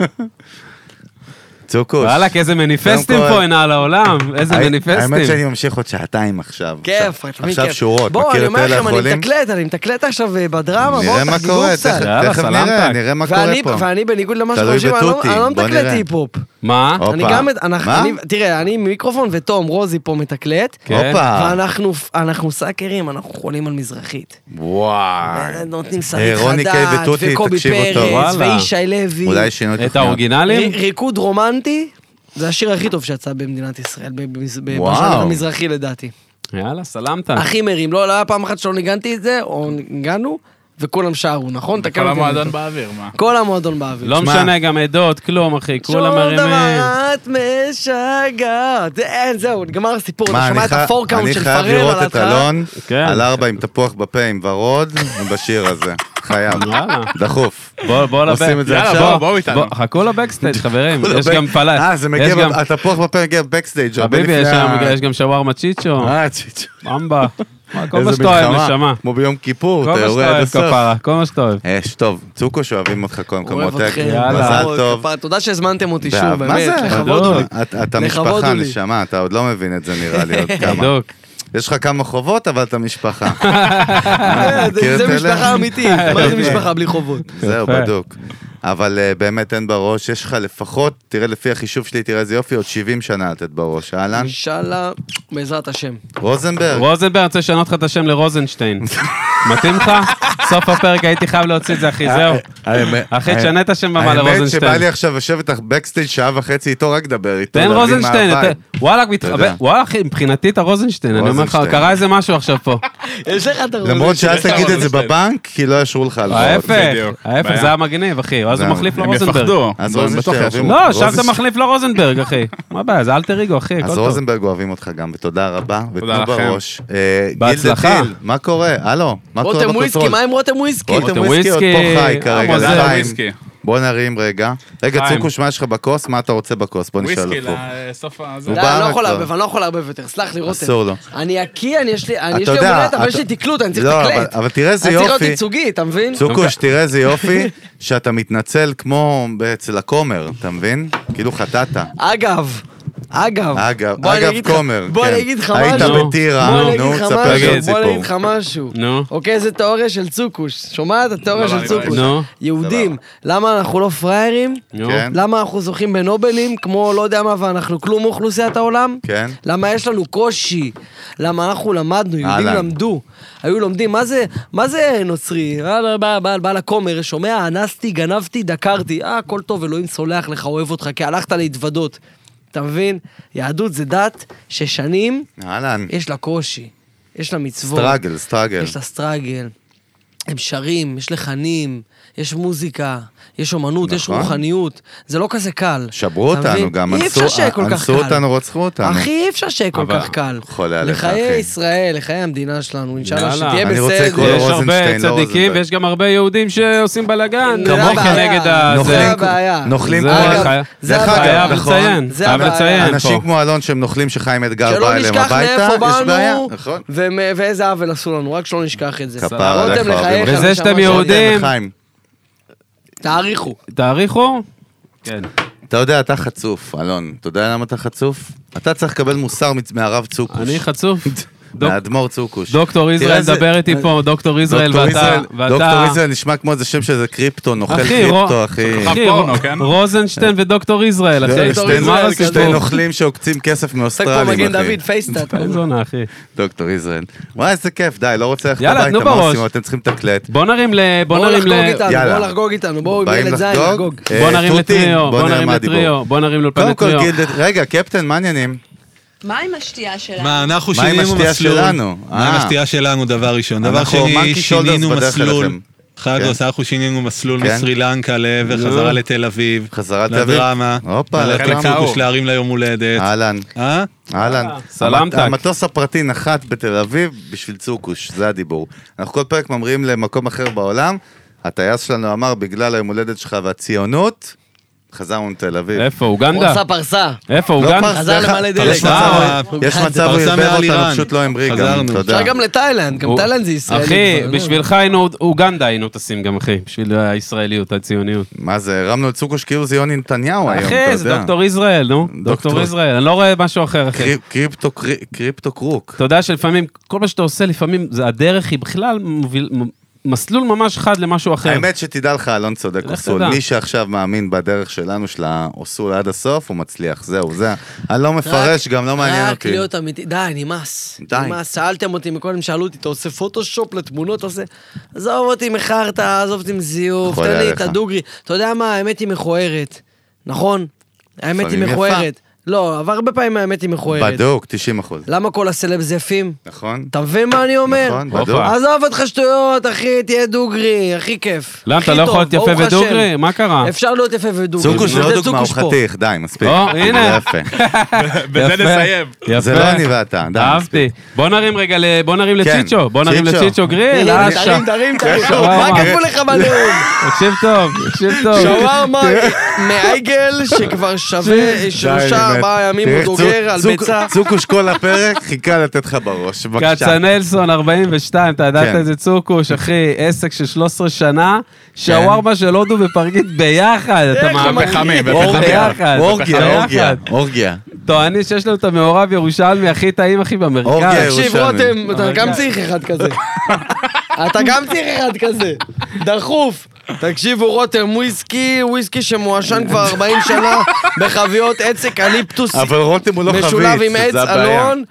צוקוש.
וואלכ, איזה מניפסטים
קודם כל-
פה הנה על העולם. איזה
הי- האמת
מניפסטים.
שאני ממשיך עוד שעתיים עכשיו.
כיף,
עכשיו-
תמיד
עכשיו
כיף.
שורות,
בואו, אני
מכיר
אומר
את אלה
לכם, אני
החולים?
מתקלט, אני מתקלט עכשיו אה, בדרמה, בואו,
נראה מה
תחגגו
קורה,
קצת.
תכף-
יאללה,
תכף
סלמת.
נראה, נראה מה קורה
ואני-
פה.
ואני בניגוד למה
תלוי
שחושבים, אני לא-
בתותים,
אני לא
בוא
מתקלט
נראה.
היפ-הופ.
מה?
הופ.
אני
הופה.
גם, אנחנו,
מה?
אני, תראה, אני מיקרופון ותום רוזי פה מתקלט,
כן.
הופה.
ואנחנו אנחנו סאקרים, אנחנו חולים על מזרחית. אה,
וואי.
נותנים שריד
אה, רוני קיי
חדד,
ותותי,
וקובי
תקשיבו טוב.
פרץ,
וואלה.
וישי לוי.
אולי שינו
את
תוכניות.
האורגינלים?
אה,
ר- ריקוד רומנטי, זה השיר הכי טוב שיצא במדינת ישראל, ב- במז- ב-
וואו.
בז'אנר המזרחי לדעתי.
אה,
יאללה, סלמת.
הכי מרים, לא לא היה פעם אחת שלא ניגנתי את זה, או ניגענו, וכולם שרו, נכון? תקן
כל
אותי אם אני
המועדון
טועה.
באוויר, מה?
כל המועדון באוויר.
לא
תשמע.
משנה גם עדות, כלום, אחי. כולם
שום
מרימים.
דבר, את משגעת. אין, זהו, נגמר הסיפור. אתה
מה,
שומע
אני
את
חי-
הפורקאונט
אני
של
חייב
פרל על
לראות את
ההתחלה?
אלון
כן.
על ארבע עם תפוח בפה עם ורוד בשיר הזה. חייב.
וואלה.
דחוף.
בוא, בוא לבק.
עושים את זה
יאללה,
עכשיו?
בואו, בואו איתנו.
חכו לבקסטייג', חברים. יש גם פלאט.
אה, זה מגיע,
יש גם-
ב- התפוח בפה מגיע בבקסטייג'. הרבה
חביבי,
לפני
יש
ה-
שם- יש גם שווארמה צ'יצ'ו.
אה, צ'יצ'ו.
אמבה. מה, כל מה
איזה
שאתה אוהב,
מלחמה.
נשמה.
כמו ביום
כל
כיפור, אתה
מה
אה,
שאתה
יורה עד
אוהב,
הסוף.
כפרה. כל מה שאתה אוהב.
אש, טוב, צוקוש אוהבים אותך קודם
אוהב
כמותך.
אתכם.
יאללה.
מזל
מאוד,
טוב.
כפרה. תודה שהזמנתם אותי שוב,
ואהב- מה
באמת.
זה?
לכבוד
גדול.
הוא לי.
אתה- אתה
לכבוד
משפחה,
הוא לי.
נשמה, אתה עוד לא מבין את זה נראה לי עוד כמה.
בדוק.
יש לך כמה חובות, אבל אתה משפחה.
אה, זה-
מכיר את
זה
אלה?
משפחה אמיתית, מה זה משפחה בלי חובות?
זהו,
יפה.
בדוק. אבל אה, באמת אין בראש, יש לך לפחות, תראה לפי החישוב שלי, תראה איזה יופי, עוד 70 שנה לתת בראש. אהלן,
אינשאללה, בעזרת השם.
רוזנברג.
רוזנברג, אני רוצה לשנות לך את השם לרוזנשטיין. מתאים לך? סוף הפרק הייתי חייב להוציא את זה,
אה,
אחי, זהו.
האמת-
אחי, תשנה את השם במה
האמת שבא
לרוזנשטיין.
לי עכשיו לשבת לך בקסטייג' שעה וחצי איתו, רק לדבר איתו.
תן
להבין מה
רוזנשטיין,
הווייב.
אתה- וואלכ, מתחבא,
יודע.
וואלכ, אחי, מבחינתי אתה רוזנשטיין, אני אומר לך,
רוזנשטיין.
קרה איזה משהו עכשיו פה.
יש לך את הרוזן.
למרות שאל תגיד את זה
רוזנשטיין.
בבנק, כי לא יאשרו לך הלוואות.
ההפך,
בדיוק.
ההפך,
בעיה.
אה, זה היה מגניב, אחי, אז
זה
הוא
היה-
מחליף
הם
לרוזנברג.
יפחדו.
אז
בוא,
רוזנשטיין,
בטוח
אוהבים
יאשרו.
אותו.
לא, שם
רוזנשטיין.
אתה מחליף לרוזנברג, אחי. מה הבעיה, זה אלטר אגו, אחי, הכל
אז
טוב.
רוזנברג אוהבים אותך גם, ותודה רבה, ותנו
לכם.
בראש. אה, גיל
בהצלחה.
דה טיל, מה קורה? הלו, מה קורה
רותם וויסקי,
בקונטרול?
מה עם רותם וויסקי?
רותם
רותם
וויסקי עוד
וויסקי,
פה חי כרגע,
עמוס,
זה
זה
חיים.
וויסקי.
בוא נרים רגע. רגע,
חיים.
צוקוש, מה יש לך בכוס? מה אתה רוצה בכוס? בוא נשאל
וויסקי
אותו.
לסוף הזה.
הוא
די,
בא
אני לא יכול
רק
לערבב,
לא.
אני לא יכול לערבב יותר, סלח לי רותם.
אסור לו.
אני הקיא, אני יש לי, אני יש
אתה
לי יום
יודע,
הולדת, אבל
אתה-
יש לי תקלוט, אני צריך
לא,
לתקלט.
אבל- אבל תראה איזה
אני צריך
יופי.
להיות ייצוגי, אתה מבין?
צוקוש, תראה איזה יופי שאתה מתנצל כמו אצל הכומר, אתה מבין? כאילו חטאת.
אגב, אגב,
אגב,
בוא אני
אגב
אגיד לך-
כומר,
בוא
כן.
אני אגיד לך
היית
משהו.
בטירה,
בוא אני
נו,
אגיד לך
תספר לי עוד
משהו, בוא אני
סיפור.
אגיד לך משהו.
נו.
אוקיי, זו תיאוריה של צוקוש. שומעת?
לא,
התיאוריה
סבבה,
של
אני
צוקוש.
נו.
יהודים, למה אנחנו לא פראיירים?
נו.
כן.
למה אנחנו זוכים בנובלים, כמו לא יודע מה, ואנחנו כלום אוכלוסיית העולם?
כן.
למה יש לנו קושי? למה אנחנו למדנו, יהודים
אהלן.
למדו. היו לומדים, מה זה, מה זה נוצרי? אה, בא- בא- בא לכומר, שומע, אנסתי, גנבתי, דקרתי. אה, הכל טוב, אלוהים סולח לך, אוהב אותך, כי הלכת להתוודות. אתה מבין? יהדות זה דת ששנים
אהלן,
יש לה קושי, יש לה מצוות.
סטראגל, סטראגל.
יש לה סטראגל. הם שרים, יש לחנים, יש מוזיקה, יש אומנות, יש
נכון.
רוחניות. זה לא כזה קל.
שברו
אתה
אותנו
מבין?
גם,
אי אפשר
אנסו-
שיהיה כל כך קל.
אנסו אותנו, רצחו אותנו.
אחי, אי אפשר שיהיה כל
אבל-
כך קל.
חולה עליך,
לחיי
אחי.
ישראל, לחיי המדינה שלנו, אינשאללה,
יאללה.
שתהיה
אני רוצה לקרוא לו
בסדר.
יש הרבה
רוזנשטיין, לא
צדיקים
רוזנברג.
ויש גם הרבה יהודים שעושים בלאגן.
זה הבעיה.
נגד ה...
נוכלים-
זה-
זה הבעיה.
נוכלים
זה
כמו-
אגב,
חי-
זה
דרך אגב,
הבעיה.
חייב
נכון.
לציין,
זה
חייב
הבעיה.
לציין כן, פה.
אנשים כמו אלון שהם נוכלים שחיים אתגר בא
שלא
אליהם
לא נשכח
הביתה,
מאיפה
יש בעיה,
באנו,
נכון?
ומ- ואיזה עוול עשו לנו, רק שלא נשכח את זה.
כפר
רותם,
עליך,
לחייך,
אוהבים.
נשמה
וזה שאתם
שלי.
יהודים,
רותם וחיים,
תעריכו.
תעריכו? כן.
אתה יודע, אתה חצוף, אלון. אתה יודע למה אתה חצוף? אתה צריך לקבל מוסר מצ- מהרב צוקוש.
אני חצוף. דוק-
מהאדמו"ר צוקוש.
דוקטור
תראה
ישראל
איזה-
מדבר איתי פה, דוקטור ישראל
דוקטור
ואתה...
ישראל-
ואתה-
דוקטור ישראל נשמע כמו איזה שם שזה קריפטו, נוכל
אחי, רו-
קריפטו, אחי. לא,
אחי,
פורנו,
רו-
כן?
רוזנשטיין ודוקטור ישראל, אחי.
שתי- שתי-
מה
ישראל,
שתי
הסיפור?
נוכלים שעוקצים כסף
משחק פה
מאוסטרלים,
מגן
אחי.
דוד, פייסטאט.
איזה זונה, אחי.
דוקטור ישראל. וואי, איזה כיף, די, לא רוצה ללכת
יאללה,
הביתה,
תנו
מה
בראש.
עושים? אתם צריכים לתקלט.
בוא נרים ל... בוא
בואו
נרים
לחגוג
ל...
איתנו,
יאללה.
בואו לחגוג איתנו, בואו עם
באים
ילד זין
לחגוג?
לחגוג.
אה,
בוא נרים
תותים,
לטריו,
בוא
בוא נרים
מה הדיבור.
לטריו, בוא נרים
קודם
לאולפני
כל,
טריו.
גיל, רגע, קפטן, מה העניינים?
מה עם השתייה שלנו?
מה, אנחנו
מה עם
שינינו
השתייה
מסלול.
שלנו?
מה עם
אה.
השתייה שלנו, דבר ראשון. דבר
אנחנו monkey
שני,
shoulders
שינינו
בדרך אליכם.
מסלול.
כן.
חגוס, אנחנו שינינו מסלול
כן.
מסרי לנקה לעבר חזרה לתל אביב.
חזרה לתל אביב.
לדרמה.
הופה,
ללכת
לדרמה.
לצוקוש להרים ליום הולדת.
אהלן,
אה?
אהלן.
סלמתק.
המטוס הפרטי נחת בתל אביב בשביל צוקוש, זה הדיבור. אנחנו כל פרק ממריאים למקום אחר בעולם, הטייס שלנו אמר, בגלל היום הולדת שלך והציונות, חזרנו לתל אביב.
איפה,
הוא
אוגנדה?
עשה פרסה.
איפה,
לא
אוגנדה?
פרס,
חזר
דרך-
למלא דלק.
יש מצב-
אה,
יש
אוגנדה.
מצב הוא
פרסה
ערבב
מעל
אותנו,
איראן.
פשוט לא המריא גם,
חזרנו.
אתה
אפשר
יודע.
גם לתאילנד, גם
הוא-
תאילנד זה ישראלי.
אחי,
כבר, לא?
בשבילך היינו, אוגנדה היינו טסים גם, אחי. בשביל הישראליות, הציוניות.
מה זה, הרמנו את צוקוש כאילו זה יוני נתניהו היום, אתה
אחי, זה
יודע.
דוקטור ישראל, נו. דוקטור ישראל. אני לא רואה משהו אחר,
כן.
אחי.
קריפ- קריפטו קרי- קריפטו קרוק.
אתה יודע שלפעמים, כל מה שאתה עושה, לפעמים, זה הדרך היא בכלל מוביל- מ- מסלול ממש חד למשהו אחר.
האמת שתדע לך, אלון צודק,
לך
אוסול.
תדע.
מי שעכשיו מאמין בדרך שלנו, של האוסול עד הסוף, הוא מצליח, זהו, זה. אני לא מפרש, גם לא מעניין
רק
אותי.
להיות אמיתי, די, נמאס.
די.
נמאס, שאלתם אותי מקודם, שאלו אותי, אתה עושה פוטושופ לתמונות, אתה עושה... עזוב אותי מחרטא, עזוב אותי עם זיוף,
חולה
תן לי
עליך.
את הדוגרי. אתה יודע מה, האמת היא מכוערת, נכון? האמת היא
לפעמים יפה.
מכוערת. לא, אבל הרבה פעמים האמת היא מכוערת.
בדוק, 90 אחוז.
למה כל הסלבס יפים?
נכון?
אתה מבין מה אני אומר?
נכון, בדוק.
הופה.
עזוב אותך שטויות, אחי, תהיה דוגרי, הכי כיף.
למה, אתה
הכי
לא יכול
טוב,
להיות יפה
ברוך השם.
ודוגרי? מה קרה?
אפשר להיות יפה ודוגרי.
צוקוש זה
בשביל
לא דוגמה, הוא
צוקוש פה.
חתיך, די, מספיק.
או, הנה.
זה יפה.
בזה
יפה.
נסיים.
יפה.
זה לא אני ואתה, די,
אהבתי.
מספיק.
בוא נרים רגע, ל- בוא נרים
כן,
לצ'יצ'ו. בוא נרים
צ'יצ'ו.
לצ'יצ'ו גריל.
תרים,
אה, שם.
תרים, תרים,
כן,
תרים.
וואו,
מה
וואו.
כתבו לך בנאום?
תקשיב טוב, תקשיב טוב.
שווארמה
כן.
מעגל שכבר שווה שלושה
די, באמת.
ארבעה ימים
תראה,
הוא דוגר
צוק-
על
צוק-
ביצה.
צוקוש כל הפרק חיכה לתת לך בראש. בבקשה.
כצנלסון, 42, אתה ידעת
כן.
איזה צוקוש, אחי, עסק של 13 שנה, שווארמה של הודו ופרגית ביחד,
כן,
אתה מאמין?
בפחמי,
אור
בפחמי.
ביחד,
אורגיה, אורגיה,
ביחד.
אורגיה.
טוענים שיש לנו את המעורב ירושלמי הכי טעים, אחי,
אורגיה.
במרכז.
תקשיב
ירושלמי. אה, כן.
רותם, אתה
אבל
גם
גם-
צריך אחד כזה. אתה גם צריך אחד כזה. דחוף. תקשיבו, רותם, וויסקי, וויסקי שמועשן כבר 40 שנה בחביות עץ אקליפטוס.
אבל רותם הוא לא חביץ,
משולב עם עץ
זה הבעיה.
אלון,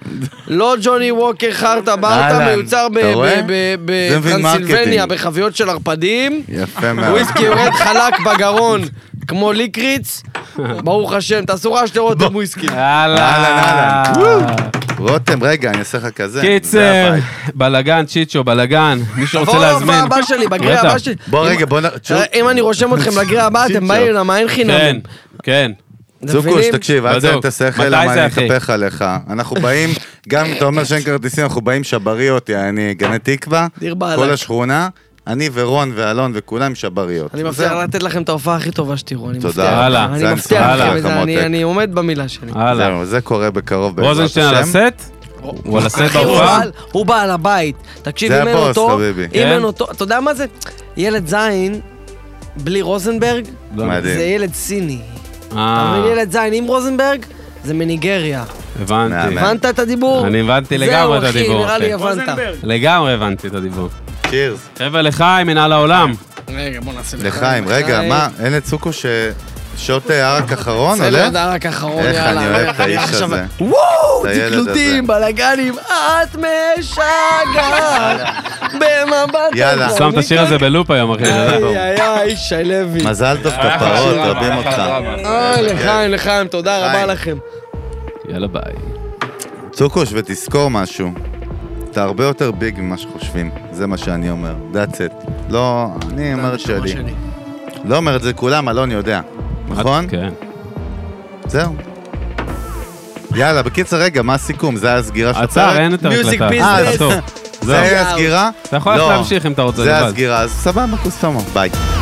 לא ג'וני ווקר חרטה ברטה,
אהלן,
מיוצר ב-
אתה רואה?
ב- ב-
זה מבין
בטרנסילבניה,
מרקטינג.
בחביות של ערפדים.
יפה מאוד.
וויסקי יורד חלק בגרון, כמו ליקריץ. ברוך השם, תעשו רעש לרותם וויסקי.
יאללה.
אהלן, רותם, רגע, אני אעשה לך כזה. כן, זה
קיצר,
הבית.
בלגן, צ'יצ'ו, בלגן. מי שרוצה
תבואו
להזמין. כן,
להופעה הבאה שלי, בגרי
בטח.
לא, הבא שלי.
בוא
אם- אה,
רגע, בוא נ...
אם אני רושם אתכם לגרי הבא, אתם באים למה אין
כן,
חינם.
כן.
אתם
צוקוש,
מבינים?
תקשיב, אל
בדוק.
תסיים את השכל,
מתי
למה
זה,
אני
אחי?
אתהפך עליך. אנחנו באים, גם אם אתה אומר שאין כרטיסים, אנחנו באים שבריות, יעני, גני תקווה,
דיר באלק.
כל השכונה, אני ורון ואלון וכולם שבריות.
אני מבטיח
זהו.
לתת לכם את ההופעה הכי טובה שתראו, אני
תודה.
מבטיח.
יאללה.
זה
אני
אני
מבטיח
שמח
לכם
לך,
את זה, אני-
מותק.
אני עומד במילה שלי.
הלאה.
זהו, זה קורה בקרוב בעזרת
רוזנשטיין על
השם.
הסט? הוא על הסט
אחי, הוא
בהופעה?
בעל- הוא בעל הבית. תקשיב,
זה
אם אין
הבוס,
אותו,
חביבי.
אם
כן.
אין אותו, אתה יודע מה זה? ילד זין, בלי רוזנברג,
לא,
מדהים.
זה ילד סיני. אתה
אה,
מבין, ילד זין עם רוזנברג, זה מניגריה.
כן.
הבנתי.
מהמם.
הבנת את הדיבור?
אני הבנתי לגמרי את
זהו,
הדיבור,
אחי, נראה לי
אחי.
הבנת.
רוזנברג.
לגמרי הבנתי את הדיבור.
צ'ירס.
חבר'ה לחיים, מנהל העולם.
רגע, בוא נעשה
לחיים, רגע,
אה,
מה, אין את סוקו ש... שוט ערק אחרון,
בסדר,
עולה?
דרק אחרון,
איך
יאללה.
אני אוהב את האיש
עכשיו-
הזה.
וואו,
את הילד הזה.
תקלוטים, בלאגנים, את משגעת במבט...
יאללה.
שם את
כן.
השיר הזה בלופ היום, אחי.
אה,
אה,
איי איי איי, ישי לוי.
מזל טוב, כפרות, אוהבים אותך.
אוי, אה, לחיים, לחיים, תודה רבה
לחיים.
לכם.
יאללה ביי.
צוקוש, ותזכור משהו. אתה הרבה יותר ביג ממה שחושבים, זה מה שאני אומר, that's it. לא, אני אומר את שלי. לא אומר את זה כולם, אלון יודע, נכון?
כן.
זהו. יאללה, בקיצר, רגע, מה הסיכום? זה הסגירה של
עצר, אין יותר
Music
הקלטה.
business.
אה, עצור. זהו.
זה הסגירה?
אתה יכול
לא.
להמשיך אם אתה רוצה
זה
לבד.
הסגירה, אז סבבה, קוסטומו, ביי.